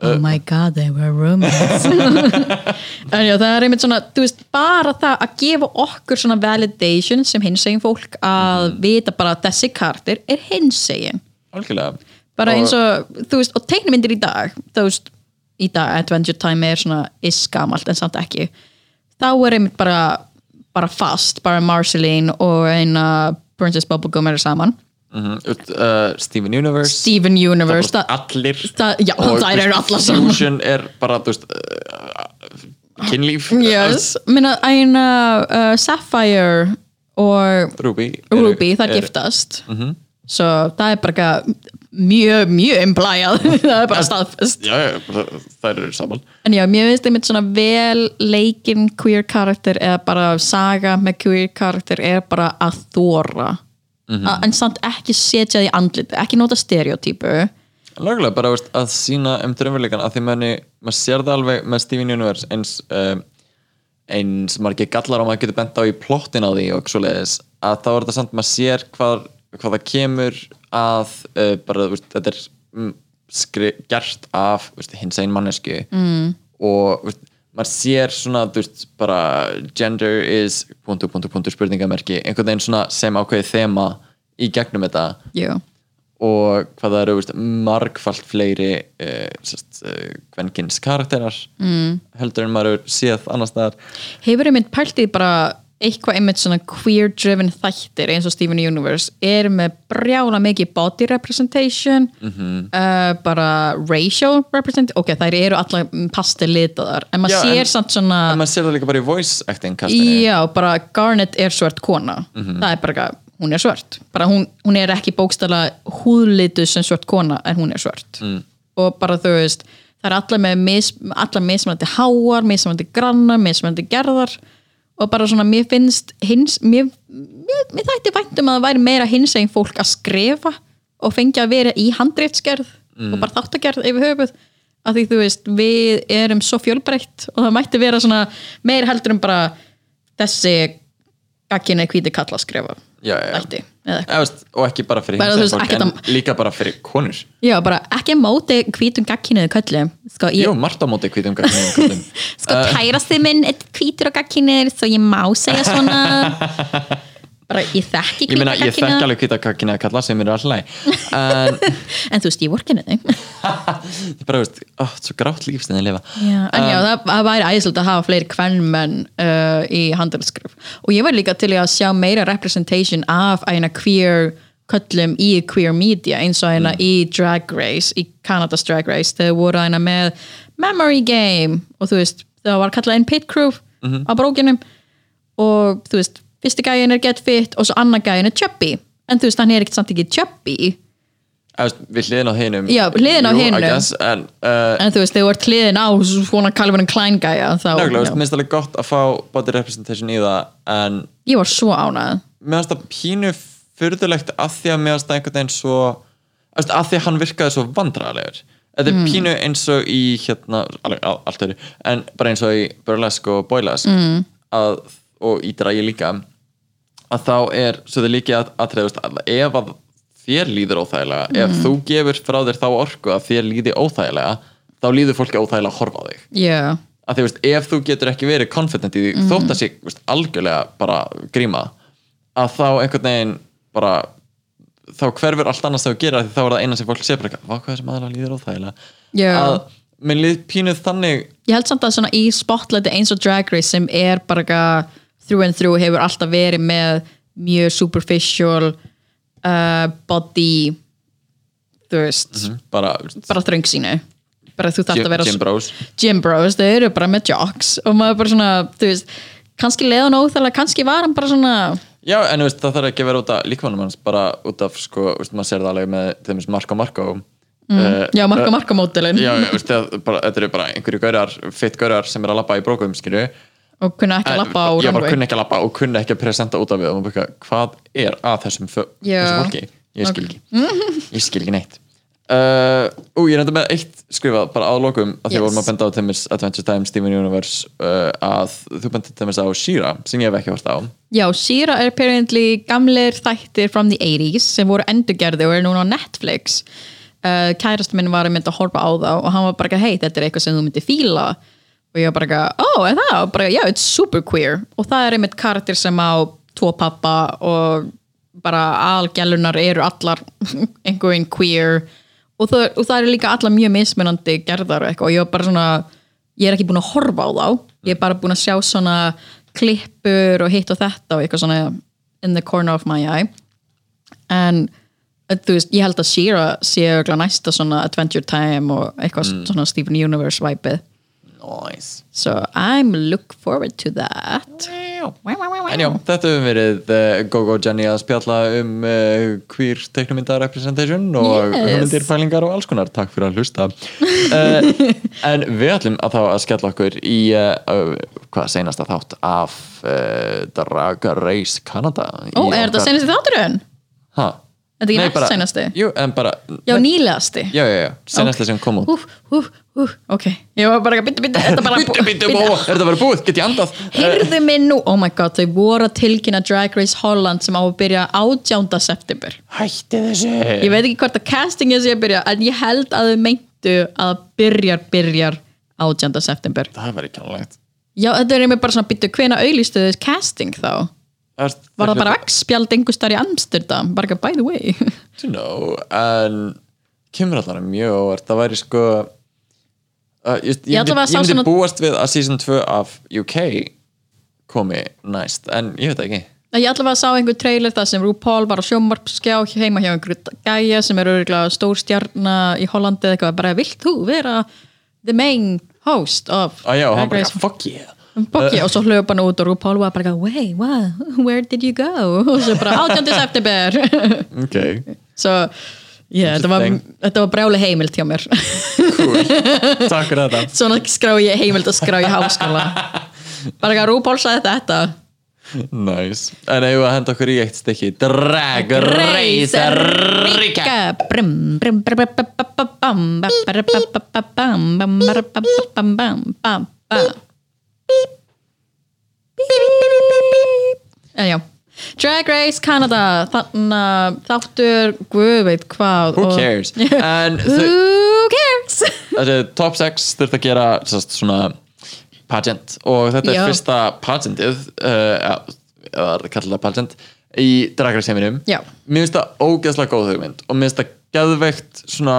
B: Oh my god, they were roommates En já, það er einmitt svona þú veist, bara það að gefa okkur svona validation sem hinsegin fólk að vita bara að þessi kartir er hinsegin
A: algjörlega
B: bara eins og, þú veist, og teiknumyndir í dag þú veist, í dag Adventure Time er svona iskamalt en samt ekki þá er einmitt bara bara fast, bara Marceline og eina Princess Bubblegum eru saman
A: Mhm, uh, Steven Universe
B: Steven Universe,
A: Það
B: það,
A: er bara allir
B: það, já, þær
A: Og, þú
B: eru
A: veist,
B: allar saman
A: Fusion er bara, þú veist uh, kynlíf
B: Yes, minna æna uh, Sapphire og
A: uh, Ruby eru-
B: Ruby, það
A: eru-
B: giftast svo það er bara eitthvað mjög, mjög implæjað það er bara staðfest
A: Já, já, bara, þær eru saman
B: en já, mér finnst einmitt svona vel leikinn queer karakter eða bara saga með queer karakter er bara að þóra
A: Mhm.
B: en samt ekki setja því andlit ekki nota stereotypu
A: Laglega, bara veist, að sína um drömmuleikan að því manni, maður sér það alveg með Steven Universe eins um, eins margir gallar og maður getur bent á í plottin á því og svo leiðis að þá er þetta samt maður sér hvað, hvað það kemur að uh, bara, þú veist, þetta er mm, skri, gert af þú veist, hins einn mannesku mm. og þú veist, maður sér svona þú veist, bara gender is punktu, punktu, punktu, spurningamerki einhvern veginn svona sem ákveðið þema í gegnum þetta
B: jú,
A: og hvað það eru veist, margfalt fleiri uh, sest, uh, kvenkins karakterar mm. heldur en maður hefur séð annars staðar
B: hefur einmitt pælt í bara eitthvað einmitt svona queer driven þættir eins og Steven Universe er með brjála mikið body representation
A: Mhm.
B: uh, bara racial representation ok, þær eru allar pastel litaðar en maður
A: Já,
B: sér
A: en-
B: samt svona
A: en maður sér það líka bara í voice acting kastinni
B: Já, bara Garnet er svört kona það er bara, eitthvað, hún er svört bara hún, hún er ekki bókstala húðlitu sem svört kona en hún er svört og bara þú veist það er allar með mis, allar mismunandi háar mismunandi grannar, mismunandi gerðar og bara svona, mér finnst hins, mér, mér, mér þætti væntum að það væri meira hins einn fólk að skrifa og fengja að vera í handreitsgerð og bara þáttagerð yfir höfuð að því þú veist, við erum svo fjölbreytt og það mætti vera svona meira heldur en bara þessi gagginni hvíti kalla að skrifa
A: Já, já, já.
B: ætti eða eitthvað.
A: Eða, veist, og ekki bara fyrir
B: Bara, þú
A: hinsegin
B: veist,
A: fólk
B: ekkert
A: en
B: að-
A: líka bara fyrir konur
B: já, bara ekki að móti hvítum gagkinniðu kalli sko, ég,
A: Jú, margt á móti hvítum gagninum kallum
C: Sko kærasti minn er hvítur og gagkinir svo ég má segja svona
B: bara, ég þekki
A: Ég meina,
B: hvíta
A: ég þekki
B: gagkinniða
A: alveg hvita gagninum að kalla sem eru alltaf leið En,
B: en þú veist, ég vorkinu þau
A: ég bara veist, ó, þetta er svo grátt lífsniðin að lifa
B: Já, en
A: Um,
B: já, það, það væri æðislegt að hafa fleiri kvennmenn uh, í handelskrif og ég var líka til í að sjá meira representation af eina queer köllum í queer media eins og
A: Mm.
B: eina í Drag Race, í Kanadas Drag Race þau voru eina með Memory Game og þú veist, það var kallað einn pit crew
A: Mhm.
B: á brókinum og þú veist, fyrsti gæin er get fit og svo annar gæin er chubby en þú veist, hann er ekkert samt ekki chubby
A: Eða, veist, Við hliðin á hinum
B: Já, hliðin á
A: Jú, I
B: hinum.
A: guess, En, uh,
B: en þú veist, þau vart hliðin á svona Calvin Klein gæja þá,
A: nákvæmlega, veist,
B: já.
A: minnst alveg gott að fá body representation í það En
B: ég var svo ánægð
A: mér finnst það pínu fyrðulegt að því að mér finnst það einhvern veginn svo að, að því að hann virkaði svo vandræðalegur þetta er pínu eins og í hérna, alveg, al- allt öðru en bara eins og í burlesk og boilesk mm. að, og í dragi líka að þá er svo þið líki að, að, að ef að þér líður óþægilega ef þú gefur frá þér þá orku að þér líði óþægilega þá líður fólki óþægilega að horfa á þig
B: Já,
A: að því veist, ef þú getur ekki verið confident í því
B: Mhm.
A: þótt að sé veist, algjörlega bara gríma að þá einhvern veginn bara þá hverfur allt annars þú gerir af því þá er það eina sem fólk sé bara eitthvað, "Vá, hvað er sem aðra líður óþægilega
B: Já.
A: að minn líð pínuð þannig
B: ég held samt að svona í spotlighti eins og Drag Race sem er bara eitthvað through and through hefur alltaf verið með mjög superficial uh, body þú veist,
A: bara,
B: Mhm. bara þröng sínu bara þú þarft
A: Jim-
B: að vera
A: Jim Bros.
B: Jim Bros, þau eru bara með jocks og maður bara svona, þú veist kannski leiðan óþægilega, kannski var hann bara svona
A: já en veist, það þarf ekki að vera út af líkvæmum hans bara út af sko, veist, maður sér það alveg með til dæmis Marko Marko mm.
B: já, marka marka mótilin
A: já, já, veist, það, bara, þetta eru bara einhverju gaurar, fitt gaurar sem er að labba í brókum skilju
B: og kunna ekki lappa á
A: ég Eh, bara
B: runway.
A: kunni ekki að lappa og kunni ekki að presenta út af við og maður bara, hvað er að þessum, fö-
B: Já.
A: þessu fólki ég skil ekki, ég skil ekki neitt uh, ú, ég reyndi með eitt skrifað bara að lokum, að því
B: Yes.
A: vorum að benda á Timmis Adventure Time, Steven Universe uh, að þú bendið Timmis á Shira sem ég hef ekki hort á
B: Já, Shira er apparently gamlir þættir from the 80s sem voru endurgerði og er núna á Netflix uh, kærast minn var að mynda að horfa á þá og hann var bara ekki, hei, þetta er eitthvað sem þú myndir fíla og ég var bara ekki, ó, er það? Og Bara, já, it's super queer og það er einmitt karakter sem á tvo pappa og bara algjalunar eru allar einhverjum queer og það, og það er líka allar mjög mismunandi gerðar og eitthvað og ég var bara svona ég er ekki búin að horfa á þá ég er bara búin að sjá svona klippur og hitt og þetta og eitthvað svona in the corner of my eye en eh, þú veist, ég held að Shira sé örugglega næsta svona Adventure Time og eitthvað
A: Mm.
B: svona Steven Universe væpið
A: nice
B: so I'm look forward to that
A: En já, þetta hefur verið uh, GoGo Jenny að spjalla um uh, queer teiknumynda representation
B: Yes.
A: og hugmyndir, pælingar og alls konar takk fyrir að hlusta uh, En við ætlum að þá að skella okkur í uh, uh, hvað seinasta þátt af uh, Drag Race Canada
B: ó, er þetta senasti þátturinn?
A: Ha?
B: Er þetta ekki
A: Nei,
B: næst
A: bara-
B: seinasti?
A: Jú, en bara
B: já, nýlegasti
A: Já, já, já, senasta sem kom út
B: hú, hú, hú, ok ég var bara, bitti, bitti, þetta bara
A: Bíddu, bíddu, ó, Er þetta verið búið? Get ég andað?
B: Heyrðu mig nú, oh my god, þau voru að tilkynna Drag Race Holland sem á að byrja 18. september.
A: Hætti þessu
B: Ég veit ekki hvort að castingið sé að byrja, en ég held að þau meintu að það byrjar, byrjar 18. september.
A: Það verið kjánlegt
B: Já, þetta er einmitt bara svona byttu, hvena auðlistu þau casting þá? Var það bara vegspjald einhver starf í Amsterdam? Bara ekki by the way.
A: to know en kemur allavega mjög óvart það væri sko uh, ég, ég,
B: Ég
A: myndi,
B: allavega
A: ég
B: sá
A: myndi
B: svona-
A: búast við að season 2 af UK komi næst en ég veit það ekki
B: Ég allavega sá einhver trailer þar sem RuPaul var á sjómarpskjá heima hjá einhverju gæja sem er örgulega stór stjarna í Hollandi eða eitthvað, bara vilt þú vera the main host of
A: ah, já, og
B: Drag
A: hann bara,
B: Race?"
A: fuck yeah
B: Bokki, og svo hlöp hann út og RuPaul var bara eitthvað, wait, what, where did you go og svo bara 18. september
A: ok,
B: svo, yeah, þetta var,
A: Interesting.
B: þetta var brjáli heimild hjá mér
A: cool, takk fyrir þetta
B: svona skrá ég heimild að skrá ég háskóla bara eitthvað, RuPaul sagði þetta
A: nice. en eigum við að henda okkur í eitt stykki drag race ríka
B: Brum, brum, brum, brum, brum, brum, brum, brum, brum, brum, brum, brum, brum, brum, brum, brum, brum. En Eh, já Drag Race Canada þannig að þáttur guð veit hvað
A: who
B: og-
A: cares en þau
B: Who cares
A: þessi top 6 þurft að gera sest, svona pageant og þetta
B: Já.
A: er fyrsta pageantið uh, eða eða kalla það pageant í dragræsheiminum
B: Já.
A: mér finnst það ógeðslega góð hugmynd og mér finnst það geðveikt svona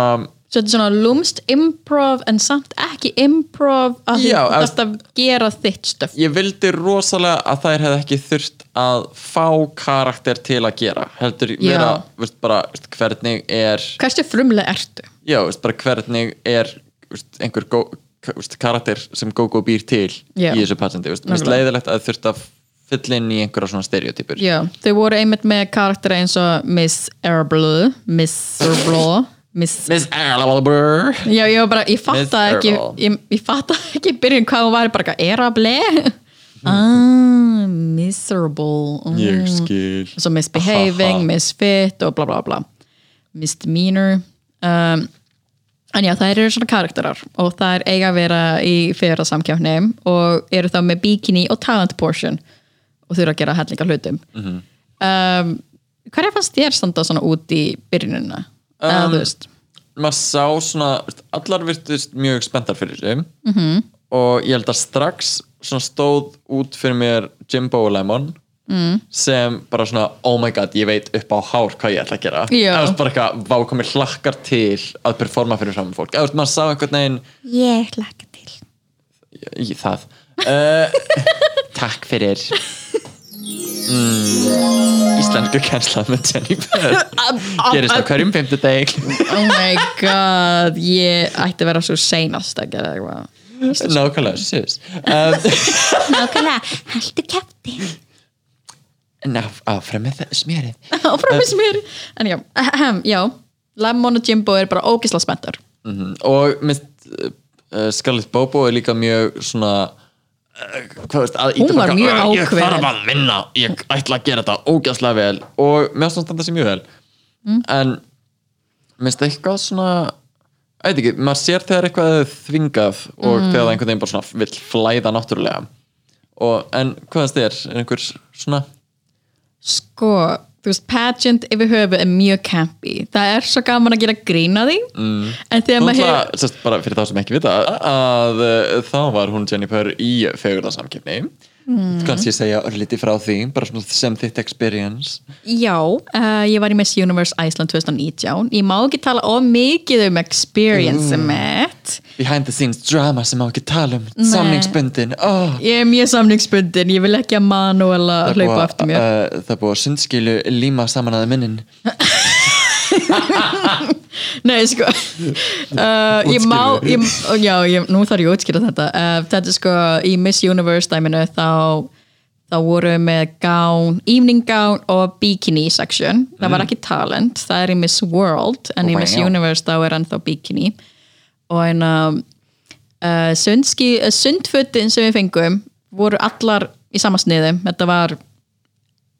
B: Svo þetta er svona lúmst improv en samt ekki improv að því
A: Já,
B: þú
A: að-
B: þarft að gera þitt stöf
A: ég vildi rosalega að þær hefði ekki þurft að fá karakter til að gera heldur
B: Já.
A: vera veist, bara, veist, hvernig er
B: Hversu frumlega ertu?
A: já, veist, bara hvernig er veist, einhver gó, k- veist, karakter sem GóGó býr til
B: Já.
A: í þessu patenti, veist, veist,
B: Nákvæmlega.
A: leiðilegt að þurft að fylla inn í einhverja svona stereotypur
B: Já, þau voru einmitt með karaktera eins og Miss Erblue Miss Erblue Miss
A: Miss Erlaber
B: Já, ég var bara, ég
A: Miss
B: fattaði ekki
A: Errol.
B: ég, ég fattaði ekki í byrjun hvað hún var bara eitthvað, erable ah, miserable mm.
A: Hmm. ég skil
B: svo misbehaving, misfit og bla bla bla misdemeanor um, en já, þær eru svona karakterar og þær eiga að vera í fyrra samkjöfni og eru þá með bikini og talent portion og þurfa að gera hellinga hlutum um, hverja fannst þér standa svona út í byrjunina? eða þú veist
A: maður sá svona, veist, allar virtust mjög spenntar fyrir þessu -hmm.
B: Mhm.
A: og ég held að strax svona stóð út fyrir mér Jimbo og Lemon mm. sem bara svona, oh my god, ég veit upp á hár hvað ég ætla að gera
B: Já.
A: Það var bara eitthvað, vá komið hlakkar til að performa fyrir saman fólk eða þú veist, maður sá einhvern veginn
C: Ég hlakka til.
A: í það uh, takk fyrir mm, Íslensku kenslað með Jenny Bird gerist á hverjum fimmtudeg
B: oh my god ég ætti að vera svo seinast að gera eitthvað
A: nákvæmlega, sus um,
C: Nákvæmlega, haldu kæfti.
A: ná, áfram með það smjörið
B: áfram með mér en já, ahem, já Lemon og Jimbo er bara ógisla spenntar
A: Mhm, og minnst uh, Scarlett Bobo er líka mjög svona uh, hvað veist, að
B: Hún var
A: ýta baka,
B: mjög
A: "Ah, ég
B: ákveðin."
A: þarf að vinna, ég ætla að gera þetta ógæslega vel og mér finnst hún standa sér mjög vel
B: Mm.
A: en minnst eitthvað svona ég veit ekki, maður sér þegar eitthvað er þvingað og
B: Mhm.
A: þegar það einhvern veginn bara svona vill flæða náttúrulega og, en hvað finnst þér, er einhver svona
B: sko, þú veist, pageant yfir höfu er mjög campy það er svo gaman að gera grína því mm. en þegar maður
A: Náttúrulega,
B: hefur
A: sérst, bara fyrir þá sem ekki vita að uh, þá var hún Jennifer í fegurðarsamkefni
B: Hmm.
A: mm. kannski segja örlítið frá því bara svona sem þitt experience
B: já, uh, ég var í Miss Universe Iceland 2019 ég má ekki tala of mikið um experience mitt
A: behind the scenes drama sem á ekki tala um samningsbundin oh.
B: ég er mjög samningsbundin, ég vil ekki að Manuela
A: Það er búið
B: hlaupa
A: að-
B: eftir mér
A: uh, það er búið að sundskilu líma saman aðeins minnin
B: Nei, sko uh, Ég má ég, Já, ég, nú þarf ég að útskýra þetta uh, Þetta er sko í Miss Universe dæminu þá, þá voru við með gán, evening gán og bikini section, það var ekki talent það er í Miss World en í
A: Wow.
B: Miss Universe þá er ennþá bikini og en um, uh, sundski, uh, sundfötin sem við fengum voru allar í sama sniði þetta var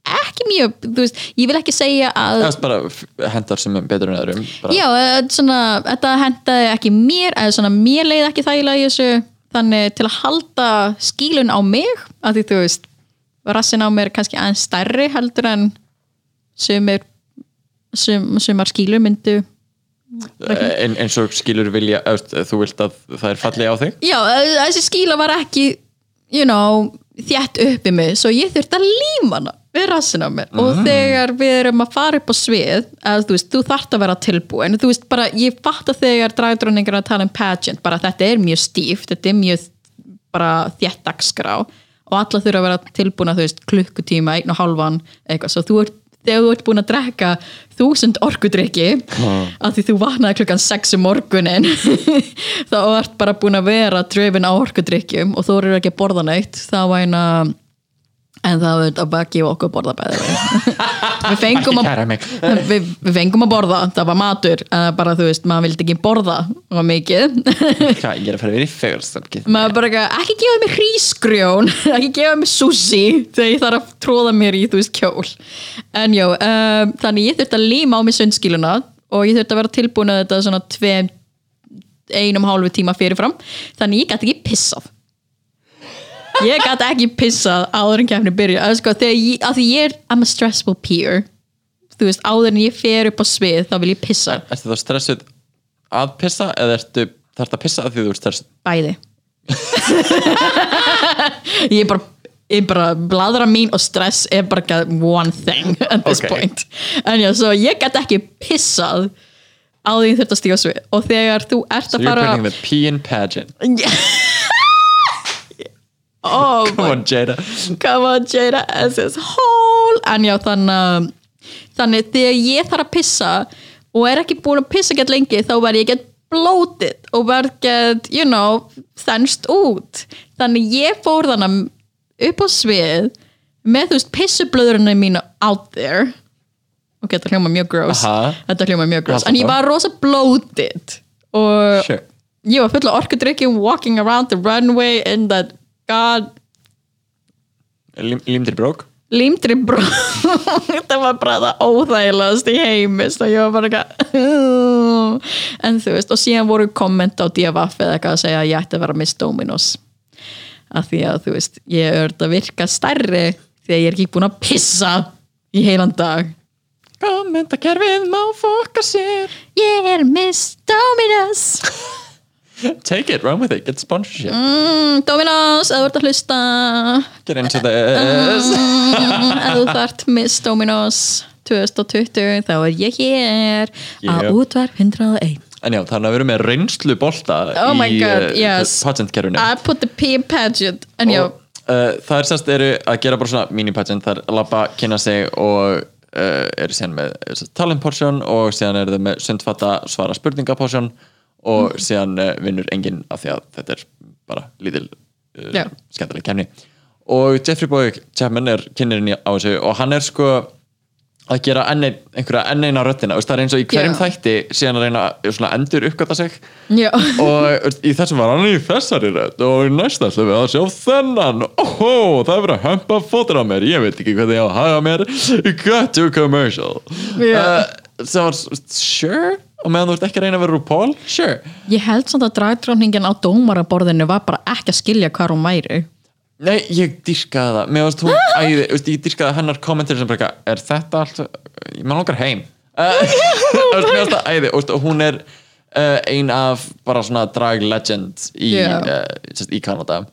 B: ekki mjög, þú veist, ég vil ekki segja að
A: það er bara f- hendar sem er betur en öðrum bara.
B: Já, eh, svona, þetta hendaði ekki mér eða svona mér leiði ekki þægilega í þessu þannig til að halda skílun á mig að því þú veist rassin á mér er kannski aðeins stærri heldur en sumir sum, sumar skílu myndu
A: eh, en, eins og skilur vilja öst, þú vilt að það er fallið á þig
B: Já, eh, þessi skíla var ekki you know, þjætt upp í mig svo ég þurfti að líma hana við rassin á mér og þegar við erum að fara upp á svið að, þú, veist, þú þart að vera tilbúin þú veist bara, ég fatta þegar dragdróningar að tala um pageant, bara þetta er mjög stíft þetta er mjög bara þjætt dagskrá og alla þurfa að vera tilbúna þú veist, klukkutíma, einn og hálfan eitthvað, svo þú ert þegar þú ert búin að drekka þúsund orkudrykki af því þú vaknaði klukkan 6 um morgunin þá ert bara búin að vera drefin á orkudrykkjum og þú eru ekki að borða neitt þá væna en það var að baki og okkur að borða bæði við fengum að
A: Kæra mig.
B: við, við fengum að borða, það var matur en það bara þú veist, maður vildi ekki borða og mikið,
A: Hvað, ég er að fara að vera í fegurstöngi
B: maður bara ekki, ekki gefa mér hrísgrjón, ekki gefa mér sushi þegar ég þarf að tróða mér í þú veist kjól, en já um, þannig ég þurfti að líma á mig sundskiluna og ég þurfti að vera tilbúin að þetta svona tveim, einum hálfu tíma fyrirfram, þannig ég gæti ekki pissað ég gæti ekki pissað áður en kemni byrja að sko, þegar ég, að því ég er I'm a stressful peer þú veist, áður en ég fer upp á svið þá vil ég pissa
A: Ertu þá stressuð að pissa eða ertu þarft að pissa að því þú ert stressuð
B: bæði ég er bara ég er bara, bladra mín og stress er bara ekki one thing at this
A: Ok.
B: point en já, svo ég get ekki pissað á því ég þurft að stíga á svið og þegar þú ert
A: So
B: að
A: you're
B: fara
A: putting the pee in pageant
B: oh
A: Come on Jada
B: come on Jada asshole en já þannig að- þannig þegar ég þarf að pissa og er ekki búin að pissa gett lengi þá verð ég gett bloated og verð gett, you know, þennst út þannig ég fór þannig upp á svið með þú veist pissublöðurinn mína out there ok, þetta hljóma mjög gross
A: Aha.
B: þetta hljóma mjög gross,
A: Aha.
B: en ég var rosa bloated og
A: Sure.
B: ég var full af orkudrykki walking around the runway in that god
A: Lím, Límdir brók
B: límdri bró þetta var bara það óþægilegast í heimist og ég var bara eitthvað en þú veist, og síðan voru komment á DFF eða eitthvað að segja að ég ætti að vera Miss Dominos af því að þú veist, ég er að virka stærri því að ég er ekki búin að pissa í heilan dag
A: Kommentakerfið má fokka sér
C: Ég er Miss Dominus.
A: Take it, run with it, get sponsorship
B: mm, Dominos, eða þú ert að hlusta
A: Get into this
B: Mm. eða þú þart Miss Dominos 2020, þá er ég hér
A: Yeah.
B: að útvarp 101
A: En já, þannig að við erum með reynslu bolta
B: Oh my
A: í
B: God,
A: eh,
B: yes.
A: pageantkerfinu
B: I put the P in pageant en já,
A: og uh, það er semst eru að gera bara svona mini-pageant, það er labba, kynna sig og uh, eru síðan með eh, talent portion og síðan eru þau með sundfatta svara spurninga portion
B: Mhm.
A: og síðan uh, vinnur enginn af því að þetta er bara lítil
B: Já.
A: uh, skemmtileg kemni og Jeffrey Boy Chapman er kynnirinn í- á þessu og hann er sko að gera enn ein, einhverja enn eina röddina veist, það er eins og í hverjum
B: Já.
A: þætti síðan að reyna að svona endur uppgöta sig
B: já.
A: og veist, í þessum var hann í þessari rödd og í næsta slöfu að sjá þennan óhó, það er verið að hömpa fótur á mér ég veit ekki hvernig ég á að haga mér cut to commercial
B: Já.
A: uh, sem var, s- sure og meðan þú ert ekki að reyna að vera RuPaul sure,
B: ég held samt að dragdróningin á dómaraborðinu var bara ekki að skilja hvað hún væri
A: nei, ég dýrkaði það mér varst hún æði, veist, ég dýrkaði hennar kommentir sem bara, eitthvað, er þetta allt ég maður langar heim uh, veist, mér varst það æði, og veist, og hún er uh, ein af bara svona drag legend í,
B: Já. Mm.
A: yeah. í Kanada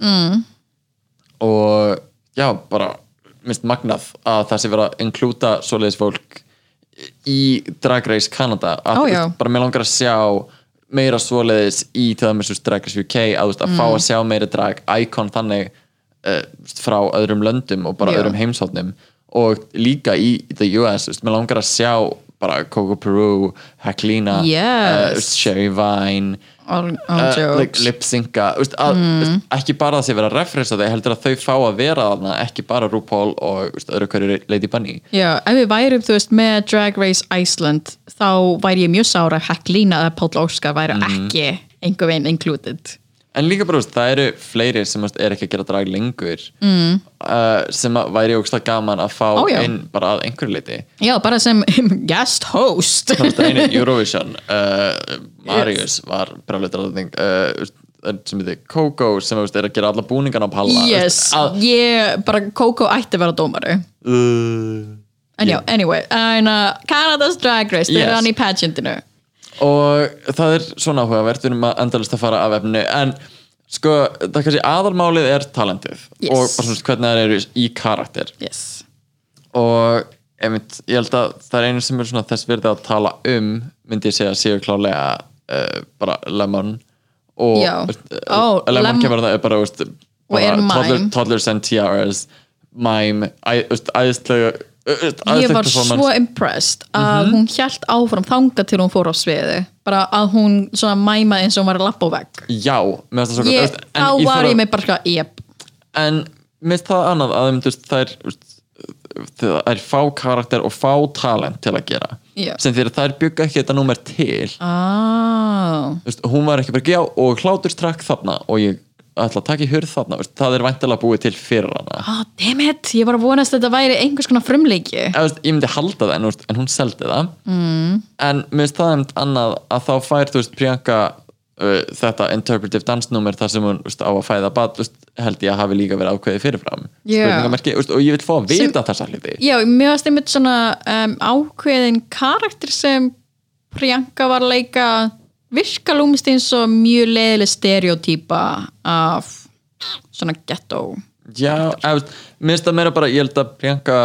A: og já, bara minnst magnað að það sé verið að inklúta svoleiðis fólk í Drag Race Canada að,
B: Ó,
A: þú
B: já.
A: veist, bara mér langar að sjá meira svoleiðis í til dæmis þú veist, Drag Race UK að, þú veist, að fá
B: Mm.
A: að sjá meira drag icon þannig uh, frá öðrum löndum og bara
B: Já.
A: öðrum heimsóknum og líka í the US þú veist, mér langar að sjá bara Coco Peru, Hacklina
B: Yes.
A: Sherry Vine
B: all, all
A: Eh, like,
B: jokes Mm.
A: lip-synka þú veist, að- þú veist, ekki bara að sé vera að referensa þau heldur að þau fá að vera þarna ekki bara RuPaul og þú veist, öðru hverju Lady Bunny
B: já, ef við værum þú veist með Drag Race Iceland þá væri ég mjög sára að Hecklína eða Páll Óskar væri
A: Mhm.
B: ekki einhver veginn included
A: en líka bara þú veist, það eru fleiri sem þú veist, er ekki að gera drag lengur mm. sem að væri ógstlega gaman að fá
B: Ó, já.
A: inn bara að einhverju leiti
B: já, bara sem guest host
A: Þú veist, einu Eurovision uh, Marius var brefleitarðning uh, sem heitir Coco sem þú veist, er að gera alla búningana á palla þú
B: yes,
A: veist, að,
B: ég bara Coco ætti að vera dómari
A: uh,
B: en já, anyway, en uh, Canada's Drag Race, þeir
A: Yes.
B: eru hann í pageantinu
A: og það er svona áhugavert við erum að endalist að fara af efnu en sko, það kannski aðalmálið er talentið
B: Yes.
A: og bara svona hvernig það eru í karakter
B: yes
A: og einmitt, ég held að það er einu sem er svona þess virði að tala um myndi ég segja séu klálega uh, bara Lemon og
B: Já.
A: veist, eh,
B: Ó,
A: Lemon
B: Lem-
A: kemur það bara veist,
B: og er
A: Bara toddler-
B: mæm
A: Toddlers and Tiaras Mime æ- þú veist, Æðislega þú veist,
B: ég
A: æðisleg
B: var
A: performance.
B: svo impressed að
A: Mhm.
B: hún hjælt áfram þanga til hún fór á sviði bara að hún svona mæmaði eins og hún var að lappa á vegg
A: Já, mér finnst það svo gott, þú
B: ég,
A: veist, en
B: þá var
A: þarf
B: ég
A: að-
B: með bara sko, jep
A: en minnst það annað að þeim, þú veist, þær þú veist, það er fá karakter og fá talent til að gera
B: Já.
A: sem þegar þær bygga ekki þetta númer til
B: ah,
A: Þú veist, hún var ekki bara já og hláturstrakk þarna og ég ætla að taka í hurð þarna þú veist, það er væntalega búið til fyrir hana
B: ah, damn it, ég var að vonast að þetta væri einhvers konar frumleiki
A: Eða, þú veist, ég myndi halda það en, þú veist, en hún seldi það mm. en minnst það einmitt annað að þá fær þú veist Priyanka uh, þetta interpretive dansnúmer þar sem hún þú veist, á að fæða bad veist, held ég að hafi líka verið ákveðið fyrirfram
B: Já.
A: Spurningamerki, þú veist, og ég vil fá að
B: Sem-
A: vita þessa hluti
B: já, mér varst einmitt svona um, ákveðin karakter sem Priyanka var að leika virka lúmist eins og mjög leðileg stereotýpa af svona ghetto
A: Já, eftir, minnst það meira bara ég held að Priyanka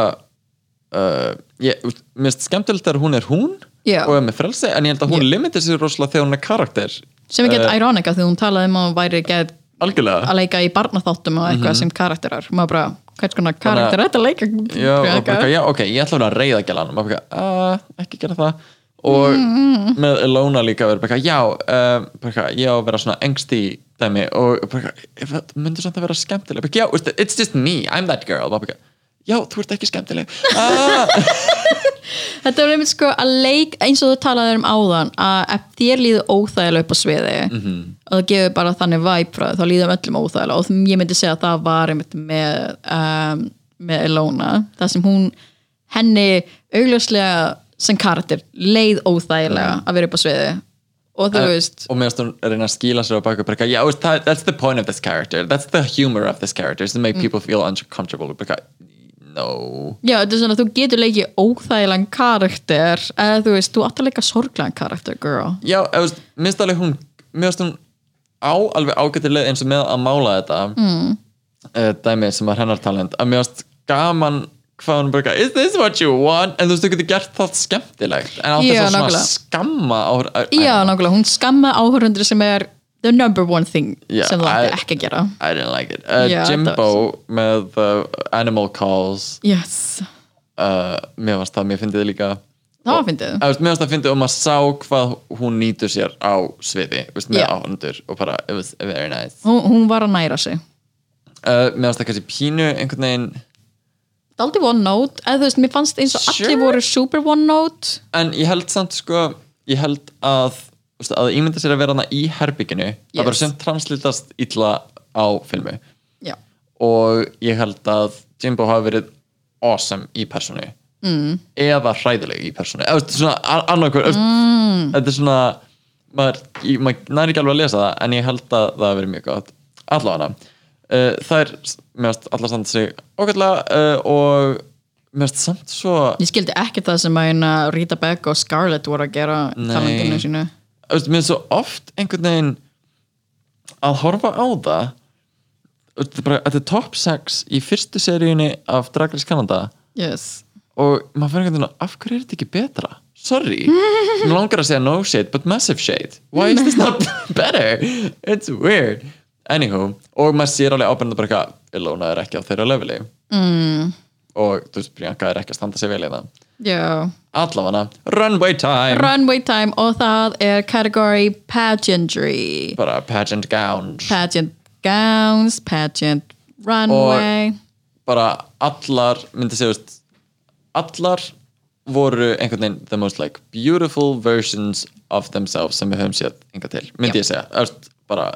A: uh, ég, þú veist, minnst skemmtilegt þegar hún er hún
B: Já.
A: og er með frelsi en ég held að hún yeah. limitir sér rosalega þegar hún er karakter
B: sem er gett
A: Eh,
B: uh, ironika því hún talaði um að hún væri gett
A: algjörlega
B: að leika í barnaþáttum og
A: Mhm.
B: eitthvað sem karakterar maður bara, hvers konar karakter er þetta að leika
A: Já, og bara,
B: Priyanka?
A: já, ok, ég ætla að vera að reyða gælan og maður bara, uh, ekki gera það og
B: Mm-hmm.
A: með Elona líka verið bara, já, uh, bara, ég á að vera svona engst í dæmi og bara, myndu samt að vera skemmtileg bara, já, veistu, it's just me, I'm that girl bara, bara, já, þú ert ekki skemmtileg ah,
B: þetta er einmitt sko að leik eins og þú talaði um áðan að ef þér líður óþægilega upp á sviði
A: Mhm.
B: og það gefur bara þannig væp frá þér þá líður öllum óþægilega og ég myndi segja að það var einmitt með um, með Elona það sem hún henni augljóslega sem karakter leið óþægilega að vera upp á sviði og
A: Eh,
B: þú veist
A: og mér hún reyna að skýla sér á baku bara, já, veist, það- that's the point of this character that's the humor of this character is to
B: Mm.
A: make people feel uncomfortable bara, no
B: Já, þetta er svona þú getur leikið óþægilegan karakter eða þú veist, þú átt að leika sorglegan karakter, girl.
A: já, eða, veist, minnst alveg hún mér finnst hún á alveg ágættilega eins og með að mála þetta mm. dæmi sem var hennar talent að mér finnst gaman hvað hún bara, is this what you want en þú veist, þú getur gert það skemmtilegt en átt
B: Já,
A: þess að svona
B: nákvæmlega.
A: skamma á, á,
B: Já, nákvæmlega, hún skamma áhörundur sem er the number one thing
A: Já,
B: sem þú
A: I-
B: ætti ekki að gera.
A: I didn't like it uh,
B: Já, þetta
A: Jimbo með uh, Animal Calls
B: Yes,
A: uh, mér finnst það, mér finnst það líka
B: það
A: Og-
B: var fyndið.
A: Eða, veist, mér finnst það fyndið og maður sá hvað hún nýtur sér á sviði veist, með
B: Já.
A: yeah. áhundur og bara it was very nice
B: Hún, hún var að næra sig.
A: uh, mér finnst það kannski pínu einhvern veginn
B: Daldi one note, eða þú veist, mér fannst eins og
A: Sure.
B: allir voru super one note.
A: en ég held samt sko ég held að, veist, að ímynda sér að vera hana í herbygginu
B: Yes.
A: það bara sem translítast illa á filmu
B: Já,
A: og ég held að Jimbo hafi verið awesome í personu mm. eða hræðileg í personu eða veist, svona annarkur mm. þetta er svona maður, ég, maður næri ekki alveg að lesa það en ég held að það hafi verið mjög gott allavega uh, það er mjögst allar standa sig ágætlega uh, og mjögst samt svo
B: ég skildi ekki það sem að hérna Rita Beck og Scarlett voru að gera í
A: Nei.
B: talentinu sínu.
A: Þú veist, mér er svo oft einhvern veginn að horfa á það þú veist, bara, þetta er top 6 í fyrstu seríunni af Drag Race Canada
B: Yes.
A: og maður fyrir einhvern veginn af hverju er þetta ekki betra? Sorry, mér langar að segja no shade but massive shade why is this not better? It's weird anywho, og maður sér alveg ábyrnda bara eitthvað Ilona er ekki á þeirra leveli mm. og þú veist, Brianka er ekki að standa sig vel í það
B: Já.
A: allavega, runway time
B: Runway time og það er category pageantry.
A: bara pageant gowns
B: pageant gowns, pageant runway
A: bara allar myndi segja veist, allar voru einhvern veginn the most like beautiful versions of themselves sem við höfum séð enga til, myndi ég segja Öst, bara,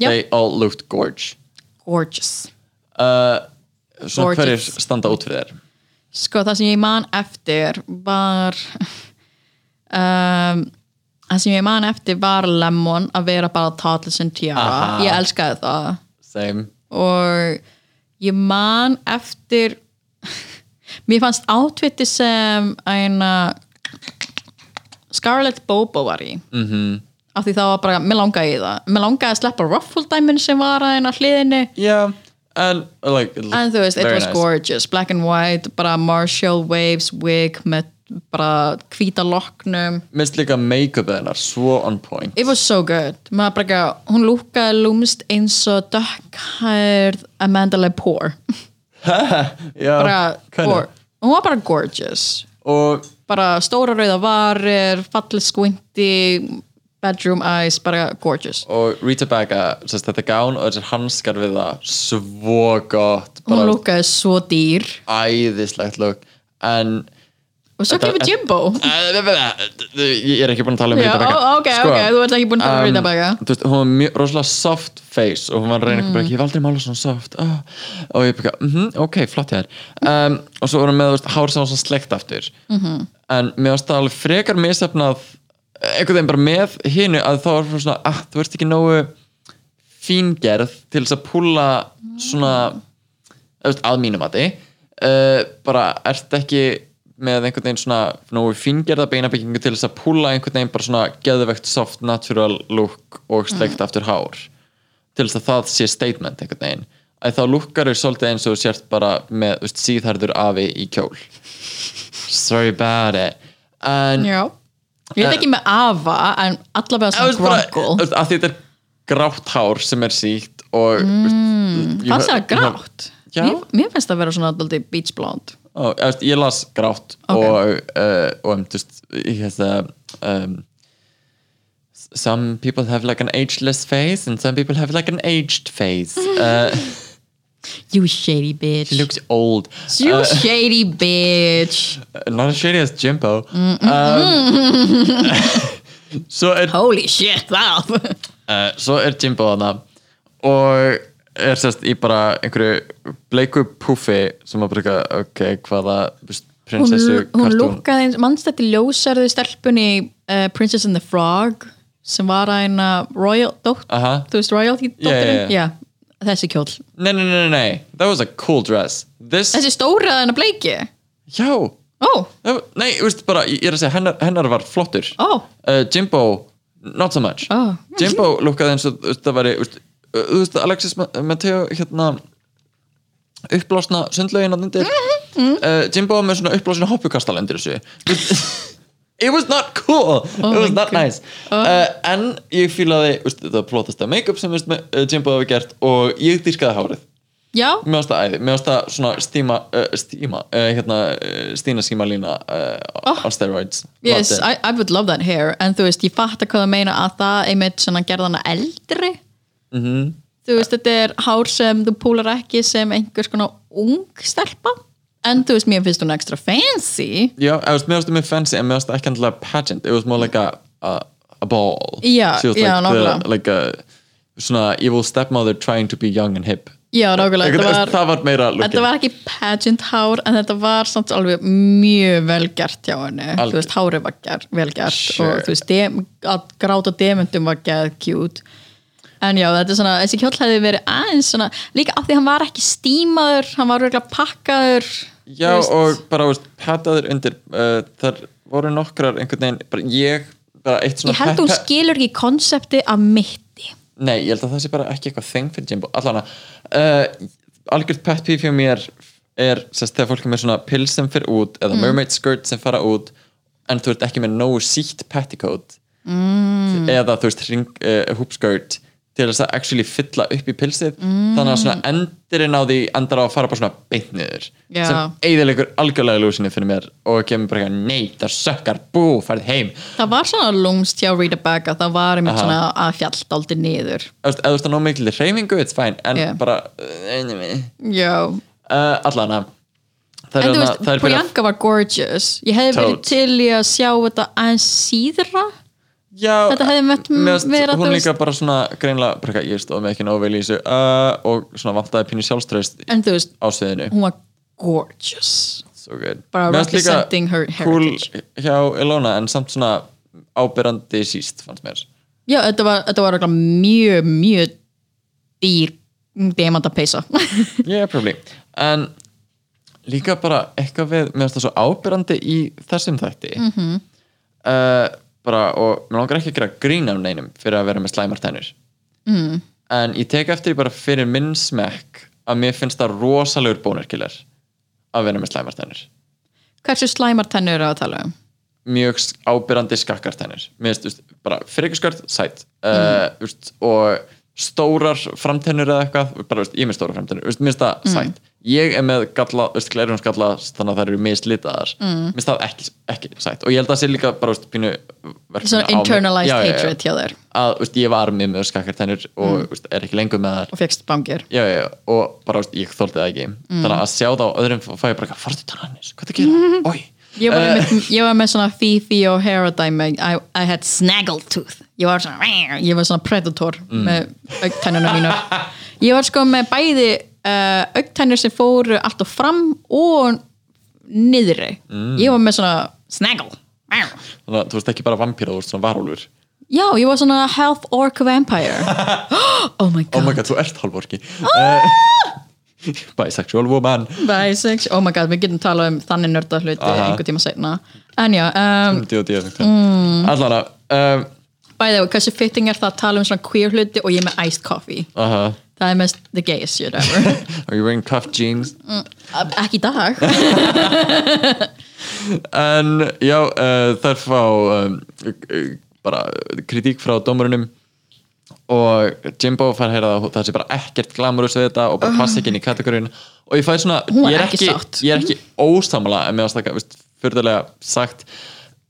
B: Já.
A: they all looked gorge
B: gorgeous
A: svona
B: Gorgeous.
A: hverjir standa út fyrir þér
B: sko það sem ég man eftir var um, það sem ég man eftir var Lemon að vera bara toddlers and tiara
A: Aha.
B: ég elskaði það
A: same,
B: og ég man eftir mér fannst átviti sem eina Scarlett Bobo var í -hmm. af því það var bara, mér langaði í það mér langaði að sleppa ruffle dæmin sem var að eina hliðinni
A: yeah and like, it
B: En þú veist, it
A: very
B: was gorgeous, black and white, bara Marshall Waves wig með bara hvíta loknum
A: minnst líka make-up hennar svo on point
B: It was so good Maður bara, eitthvað- hún lúkaði lúmst eins og dökkhærð Amanda Lepore
A: Oh, Já,
B: bara,
A: hvernig?
B: gor- Hún var bara gorgeous
A: og
B: bara stóra rauða varir fallið squinty bedroom eyes, bara gorgeous
A: og Rita Baga sérst, þetta gán og þessir hanskar við það svo gott
B: Hún
A: bara
B: lúkaði svo dýr
A: æðislegt look en
B: og svo
A: Þetta-
B: kemur Jimbo
A: Eh, ég er ekki búin að Sko, tala um
B: Já,
A: Rita Baga
B: ó, ok, ok, þú ert ekki búin að tala um Rita Baga.
A: þú veist, hún var mjög rosalega soft face og hún var að reyna mm. bara, ég hef aldrei málað svona soft oh. og ég byrja, mm ok, flott hér um, og svo var hún með, þú veist, hár sem var svona slegt aftur
B: Mhm.
A: en mér varst það alveg frekar misefnað einhvern veginn bara með hinu að þá var svona, ah, þú ert ekki nógu fíngerð til þess að púla svona þú veist, að mínum að þið bara ert ekki með einhvern veginn svona nógu fíngerða beinabyggingu til þess að púla einhvern veginn bara svona geðvegt soft natural look og
B: Mhm.
A: slegt aftur hár til þess að það sé statement einhvern veginn að þá lukkar þau svolítið eins og þú sért bara með þú veist, síðharður afi í kjól sorry about it en
B: Já Ég veit ekki með Ava, en allavega
A: Þú
B: svona
A: veist, bara- þú
B: grunkle
A: veist, að því þetta er grátt hár sem er síkt og mm,
B: Fannst það grátt?
A: Já.
B: Mér, mér finnst það vera svona alltaf beach blonde
A: Ó, þú veist, ég las grátt
B: Ok.
A: og, uh, og um, þú veist, ég hefst að um, some people have like an ageless face and some people have like an aged face uh,
B: You shady bitch
A: looks old Eh,
B: You shady bitch
A: not as shady as Jimbo um, svo er
B: Holy shit, það
A: uh, svo er Jimbo þarna og er sérst í bara einhverju bleiku puffi sem að bruka, ok, hvaða þú veist,
B: Hún,
A: prinsessu
B: hún
A: kartún
B: lúkaði eins, mannst þetta ljósarðu stelpunni uh, Princess and the Frog sem var að hérna royal dótt,
A: Aha.
B: þú veist royalty
A: já,
B: dóttirinn
A: já.
B: Já, þessi kjól
A: nei, nei, nei, nei, nei, that was a cool dress this,
B: Þessi stóra þennan bleiki
A: já
B: Ó,
A: það var- nei, þú veist bara, ég er að segja hennar, hennar var flottur
B: Ó.
A: uh, Jimbo, not so much
B: Ó.
A: Jimbo lúkaði eins og þú veist, það væri þú veist, uh, þú veist, Alexis Ma- Mateo hérna uppblásna sundlaugin að undir
B: Mhm.
A: uh, Jimbo var með svona uppblásna hoppukastal undir þessu Þú veist, it was not cool it
B: Oh my Oh.
A: was not
B: God.
A: nice uh, en ég fílaði, þú veist, þetta var flottasta make-up sem þú veist, uh, Jimbo hafi gert og ég dýrkaði hárið
B: já,
A: Mér finnst það æði, mér finnst það svona stíma, uh, stíma, uh, hérna, uh, stína síma lína uh,
B: Oh.
A: on steroids.
B: yes,
A: Loved it.
B: I, I would love that hair en þú veist, ég fatt að hvað það meina að það einmitt svona gerða hana eldri þú veist, þetta er hár sem þú púlar ekki sem einhvers konar ung stelpa en þú veist, mér finnst hún extra fancy
A: Já, I was, mér finnst það mjög fancy en mér finnst það ekki endilega pageant, it was more like a, a, a ball.
B: Já,
A: She was
B: já,
A: like, the-
B: nákvæmlega.
A: like a svona evil stepmother trying to be young and hip.
B: já, nákvæmlega,
A: Einhvern-
B: þetta var,
A: það var meira
B: þetta
A: lookin.
B: var ekki pageant hár en þetta var samt alveg mjög velgert hjá henni,
A: Algjör.
B: þú veist, hárið var ger, velgert
A: Sure.
B: og þú veist, dem, að gráta demundum var gerð cute en já, þetta er svona, þessi kjóll hefði verið aðeins svona, líka af því hann var ekki stímaður, hann var röglega pakkaður
A: Já,
B: þú veist.
A: og bara, þú veist, pataður undir, uh, þar voru nokkrar einhvern veginn, bara ég, bara eitt svona
B: ég held hún
A: pet-
B: skilur ekki konsepti af mitti
A: Nei, ég held að það sé bara ekki eitthvað þeng fyrir Jimbo Allan að uh, Algjörð pet peeve hjá mér er sérst, þegar fólk er með svona pils sem fyrir út eða
B: Mm.
A: mermaid skirt sem fara út en þú ert ekki með nógu sítt petticoat mm. eða þú veist ring, uh, hoopskirt til þess að actually fylla upp í pilsið þannig að
B: Mm.
A: svona endurinn á því endar á að fara bara svona beint niður
B: Já.
A: sem eigðilegur algjörlega lúsinni fyrir mér og kemur bara eitthvað nei, það sökkar, bú, farið heim
B: það var svona lúmst hjá Rita Baga það var einmitt
A: Aha.
B: svona að fjalldaldi niður
A: Þú veist, ef þú ert að ná mikil reyfingu, it's fine en
B: Já.
A: bara, uh, anyway
B: já,
A: uh, allana það
B: en þú
A: er, hana, það
B: veist,
A: er hérna- byrja,
B: Priyanka var gorgeous ég hefði verið
A: Totes.
B: til í að sjá þetta aðeins síðra
A: já, eh,
B: þetta hefði mött
A: mér finnst
B: vera, þú
A: hún
B: veist-
A: líka bara svona greinlega, bara, eitthvað, ég stóð með ekki nógu vel í þessu uh, og svona vantaði pínu sjálfströðst
B: en þú veist,
A: á sviðinu
B: hún var gorgeous
A: so good.
B: Bara
A: Mér fannst líka
B: representing her
A: cool
B: heritage.
A: hjá Ilona en samt svona ábyrrandi síst fannst mér
B: já, þetta var, þetta var örugglega mjög, mjög dýr demanda peysa
A: yeah, probably en líka bara eitthvað við mér finnst það svo ábyrrandi í þessum þætti -hmm. uh, bara og mér langar ekki að gera grín af neinum fyrir að vera með slæmartænur mm. en ég tek eftir því bara fyrir minn smekk að mér finnst það rosalegur bónarkilar að vera með slæmartænur
B: Hversu slæmar tennur eru að tala um?
A: mjög sk- ábyrrandi skakkartennir mér finnst, þú veist, bara fyrirskört, sætt uh,
B: Mhm.
A: þú veist, og stórar framtennur eða eitthvað bara, þú veist, ég er með stórar framtennur, þú veist, mér finnst
B: Mhm.
A: það sætt ég er með galla, þú veist, glerun skalla þannig að það eru mislitaðar mm.
B: Mhm.
A: mér finnst það ekki, ekki sætt og ég held að það sé líka bara, þú veist, pínu verkefni
B: Svona
A: á mig.
B: internalized
A: Já, já, já.
B: hatred Mhm. hjá þér
A: að, þú veist, ég var með með skakkartennur og, þú veist, er ekki lengur með þar
B: og fegst bangir
A: já, já, já, og bara, þú veist, ég þóldi það ekki
B: Mhm.
A: þannig að sjá það á öðrum fæ ég bara, eitthvað, farðu tannanir, hvað það gera, mm.
B: ég var, einmitt, ég var með svona Fifi og Hera dæmi I, I had snaggletooth ég var svona, ég var svona predator með augtænuna mínar ég var sko með bæði uh, augtænur sem fóru allt og fram og niðri ég var með svona snaggle
A: þannig að þú veist ekki bara vampíra, þú veist svona varúlfur
B: já, ég var svona half orc vampire oh my
A: oh
B: god Ah!
A: my god, þú ert halvorki bisexual woman
B: Basics, oh my god, við getum talað um þannig nörda hluti
A: Aha.
B: einhver tíma setna en já, um,
A: djú, djú, djú. Mm. allan að
B: bæði og hversu fitting er það að tala um svona queer hluti og ég er með iced coffee
A: uh,
B: Það er mest the gayest shit ever
A: are you wearing cuff jeans
B: Ekki í dag
A: en já, uh, þær fá um, uh, bara kritík frá dómurunum og Jimbo fær að heyra það að það sé bara ekkert glamurus við þetta og bara passa ekki inn í kategoríun og ég fæ svona,
B: Ah. Hún var
A: ég er
B: ekki
A: ekki,
B: sátt.
A: ég er ekki um ósamla en mér ástaka, veist, fyrðulega sagt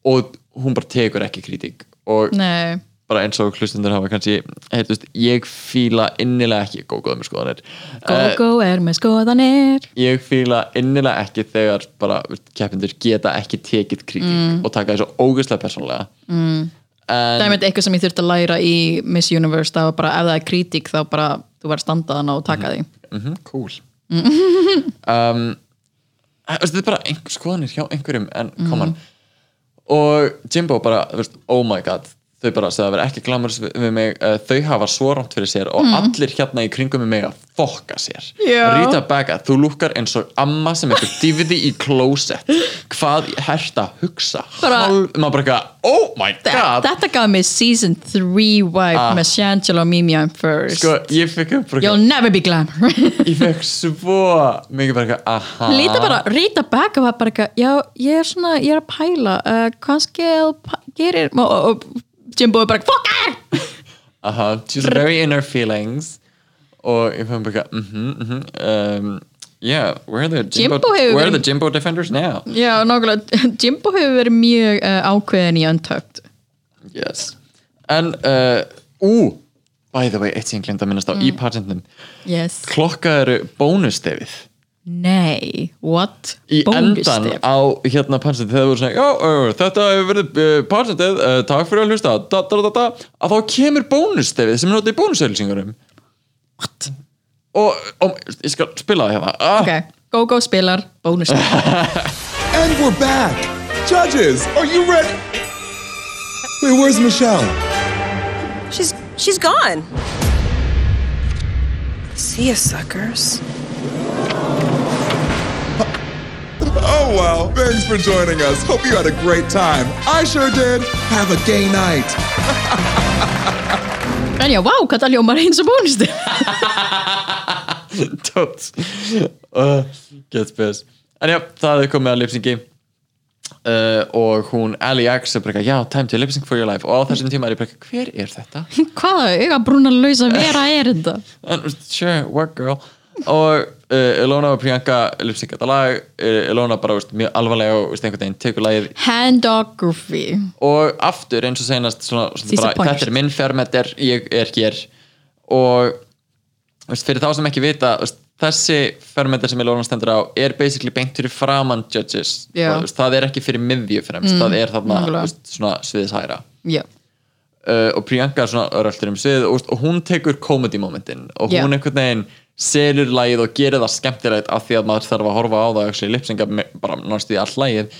A: og hún bara tekur ekki kritík og
B: Nei,
A: bara eins og hlustundur hafa kannski heitust, ég fíla innilega ekki góðgóðum skoðanir uh,
B: Gogo er með skoðanir
A: ég fíla innilega ekki þegar bara keppindur geta ekki tekið kritík og taka þessu ógeðslega persónlega mm.
B: Það
A: en,
B: er með eitthvað sem ég þurfti að læra í Miss Universe það var bara, ef það er kritík þá bara þú verður standaðan og taka því
A: mhm, cool
B: Mhm.
A: um, að, veist, þetta er bara einhver, skoðanir hjá einhverjum en koman
B: Mhm.
A: og Jimbo bara, þú veist, oh my god þau bara segja að vera ekki glamurus við við mig uh, þau hafa svo rámt fyrir sér og allir hérna í kringum með mig að fokka sér
B: Mhm. Já.
A: Rita Baga, þú lúkkar eins og amma sem eitthvað divði í klósett hvað ég hert að hugsa
B: Bara-
A: Hálf, maður bara eitthvað, oh my
B: Þa-
A: god
B: Þetta gaf mér season 3 vibe
A: Ah.
B: með Shangela og Mimi I'm first
A: sko, ég fekk bara
B: You'll
A: eitthvað,
B: never be glamour
A: ég fekk svo mikið bara eitthvað, aha
B: Líta bara, Rita Becca var bara eitthvað Já, ég er svona, ég er að pæla uh, kannski eða pa- gerir og, og, og Jimbo er bara, fuck her
A: Aha, she's very in her feelings og ég fann bara mhm, mhm um, yeah, where are the Jimbo,
B: Jimbo hefur
A: where are
B: verið-
A: the Jimbo defenders now
B: Já, nákvæmlega, Jimbo hefur verið mjög uh, ákveðin í Untucked
A: yes en, uh, ú by the way, eitt sem ég glemt að minnast á
B: Mm.
A: í patentnum
B: Yes
A: klokka eru bónustefið
B: Nei, what?
A: í endan
B: Bónusstef.
A: á hérna patentið þegar þú voru svona, já, uh, þetta hefur verið uh, patentið, uh, takk fyrir að hlusta da, da, da, da, að þá kemur bónustefið sem er notið í bónusauðlýsingurum
B: What?
A: og, og ég skal spila það hérna ah,
B: Ok, GóGó spilar bónusstef
D: And we're back. Judges, are you ready? Wait, where's Michelle?
E: She's she's gone. See ya, suckers.
D: Oh, wow. Thanks for joining us. Hope you had a great time. I sure did. Have a gay night.
B: En já, vá, hvað það ljómar eins og bónusstef
A: Tótt uh, Gett spes En já, það er komið að lipsingi uh, og hún Ali X er bara eitthvað, já, time to lipsing for your life og á þessum tíma er ég bara eitthvað, hver er þetta?
B: Hvaða augabrúna lausa vera er þetta?
A: And, sure, work girl og uh, Elona og Priyanka lipsing þetta lag, uh, Elona bara veist, mjög alvarlega og veist, einhvern veginn tekur lagið
B: Handography
A: og aftur eins og senast svona, svona bara,
B: Disappointed.
A: þetta er minn fermeter, ég er hér og veist, fyrir þá sem ekki vita veist, þessi fermeter sem Elona stendur á er basically beint fyrir framan judges
B: Já. Mm,
A: og, veist, það er ekki fyrir miðju fremst það er þarna
B: nákvæmlega.
A: veist, svona sviðshæra
B: Já,
A: uh, og Priyanka er svona öröldur um svið og, veist, og hún tekur comedy momentin og
B: Já.
A: hún einhvern veginn selur lagið og gerir það skemmtilegt af því að maður þarf að horfa á það og lipsinga me- bara náttúrulega í all lagið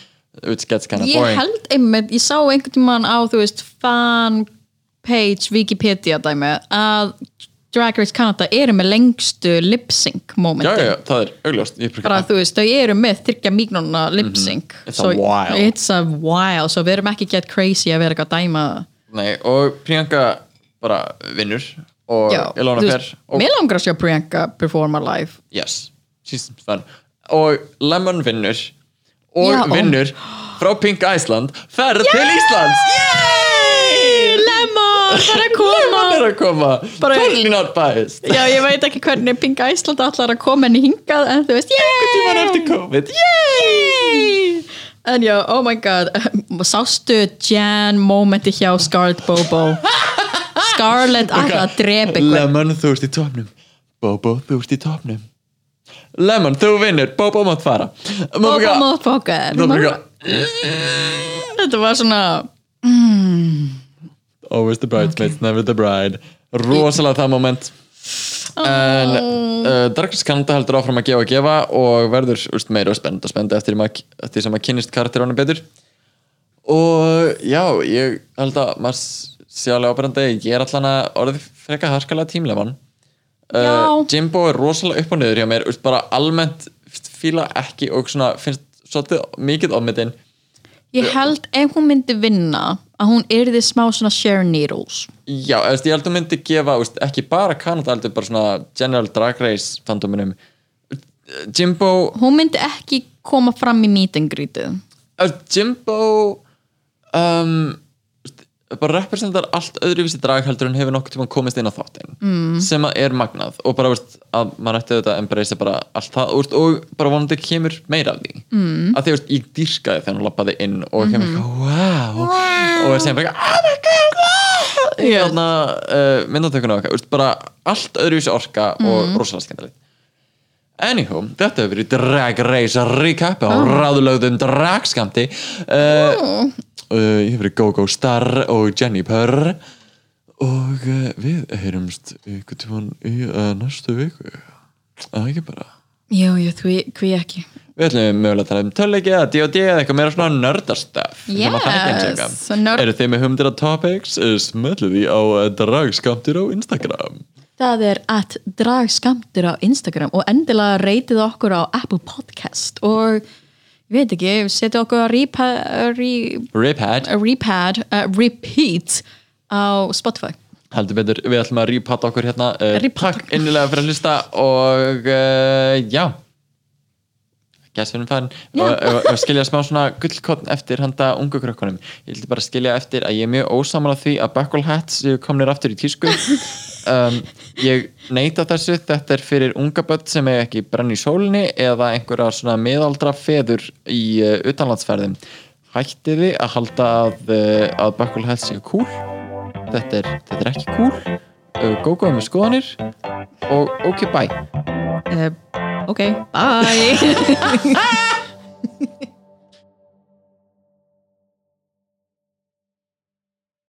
A: which gets kind of
B: ég
A: boring
B: held einmitt ég sá einhvern tímann á, þú veist fan page Wikipedia dæmi að Drag Race Canada eru með lengstu lip-sync
A: já,
B: momentin
A: já, já, það er augljóst Ég
B: bara þú veist, þau eru með þyrkja mígnuna lip-sync
A: Mhm. It's a while.
B: it's a while, svo við erum ekki get crazy að vera eitthvað að dæma það.
A: Nei, og Priyanka bara vinnur og
B: Já,
A: Ilona
B: þú
A: fer
B: veist,
A: og
B: mér langar að sjá Priyanka performa live
A: yes, she's fun og Lemon vinnur og
B: Já.
A: vinnur frá Pink Iceland ferð til Íslands Yay!
B: Lemon, það er að koma
A: Hann er að koma
B: Bara-
A: Totally not biased
B: Já, ég veit ekki hvernig Pink Iceland allar að koma henni hingað en þú veist,
A: Tíman
B: yay!
A: eftir COVID
B: Yay! En já, oh my god Sástu Jan momenti hjá Scarlett Bobo Scarlett allar að drepa ykkur
A: Lemon þú ert í topnum Bobo þú ert í topnum Lemon þú vinnur Bobo mátt fara
B: Bobo motherfucker
A: Bobo
B: Þetta var svona
A: Always the bridesmaids, never the bride Rosalega það moment En uh, Darkness Canada heldur áfram að gefa og gefa og verður úst, meira spennt og spennt eftir, ma- eftir sem að kynnist karakterónu betur og já, ég held að maður sé alveg ábærandi ég er allan að orðið freka harkalega tímlefan
B: Já.
A: uh, Jimbo er rosalega upp og niður hjá mér úst, bara almennt fíla ekki og svona finnst svolítið mikið ofmyndin
B: Ég held ef hún myndi vinna að hún yrði smá svona Sharon Needles
A: Já, þú veist, ég held að myndi gefa þú veist, ekki bara Kanada, heldur bara svona General Drag Race fandominum Jimbo
B: Hún myndi ekki koma fram í meet and greetið
A: uh, Jimbo um, þú veist, bara representar allt öðruvísi drag heldur en hefur nokkuð tíma komist inn á þáttinn mm. sem að er magnað og bara þú veist, að maður ætti auðvitað að embracea bara allt það úr, og bara vonandi kemur meira af því mm. að því þú veist, ég dýrkaði þegar hún lappaði inn og kemur eitthvað wow, og er sem bara oh my god wow!
B: Já.
A: þarna uh, myndatökuna okkar, úrst, bara allt öðruvísi orka og rosalega skemmtilegt Anywho, þetta hefur verið Drag Race recap
B: Ah.
A: á ráðlögðum dragskamti uh,
B: Mm.
A: uh, Ég hef verið Go Go Star og Jenny Purr og uh, við heyrumst ykkur tíman í uh, næstu viku Það ekki bara
B: Jú, jú, því, hví ekki
A: Við ætlum mögulega að tala um tölleiki eða D&D eða eitthvað meira svona nördastöf
B: Yes, so nörd-
A: Eru þið með humdir að topics? Uh, Smellu því á uh, dragskamtir á Instagram
B: Það er að drag skamtir á Instagram og endilega reytið okkur á Apple Podcast og ég veit ekki, setja okkur að repa- re-
A: Riphead
B: að repad, uh, repeat á Spotify.
A: heldur betur, við ætlum að repatta okkur hérna uh,
B: Repatta
A: takk
B: okkur.
A: innilega fyrir að hlusta og uh, já gæsfinum farin og, og, og skilja smá svona gullkotn eftir handa ungu krökkunum ég vildi bara skilja eftir að ég er mjög ósamal því að buckle hats séu komnir aftur í tísku um, ég neita þessu þetta er fyrir unga börn sem er ekki brenn í sólinni eða einhverja svona miðaldra feður í uh, utanlandsferðum hættiði að halda að, uh, að buckle hats séu cool þetta er, þetta er ekki cool uh, góðgóða með skoðanir og
B: Eh,
A: ok bye
B: Uh, ok, bye!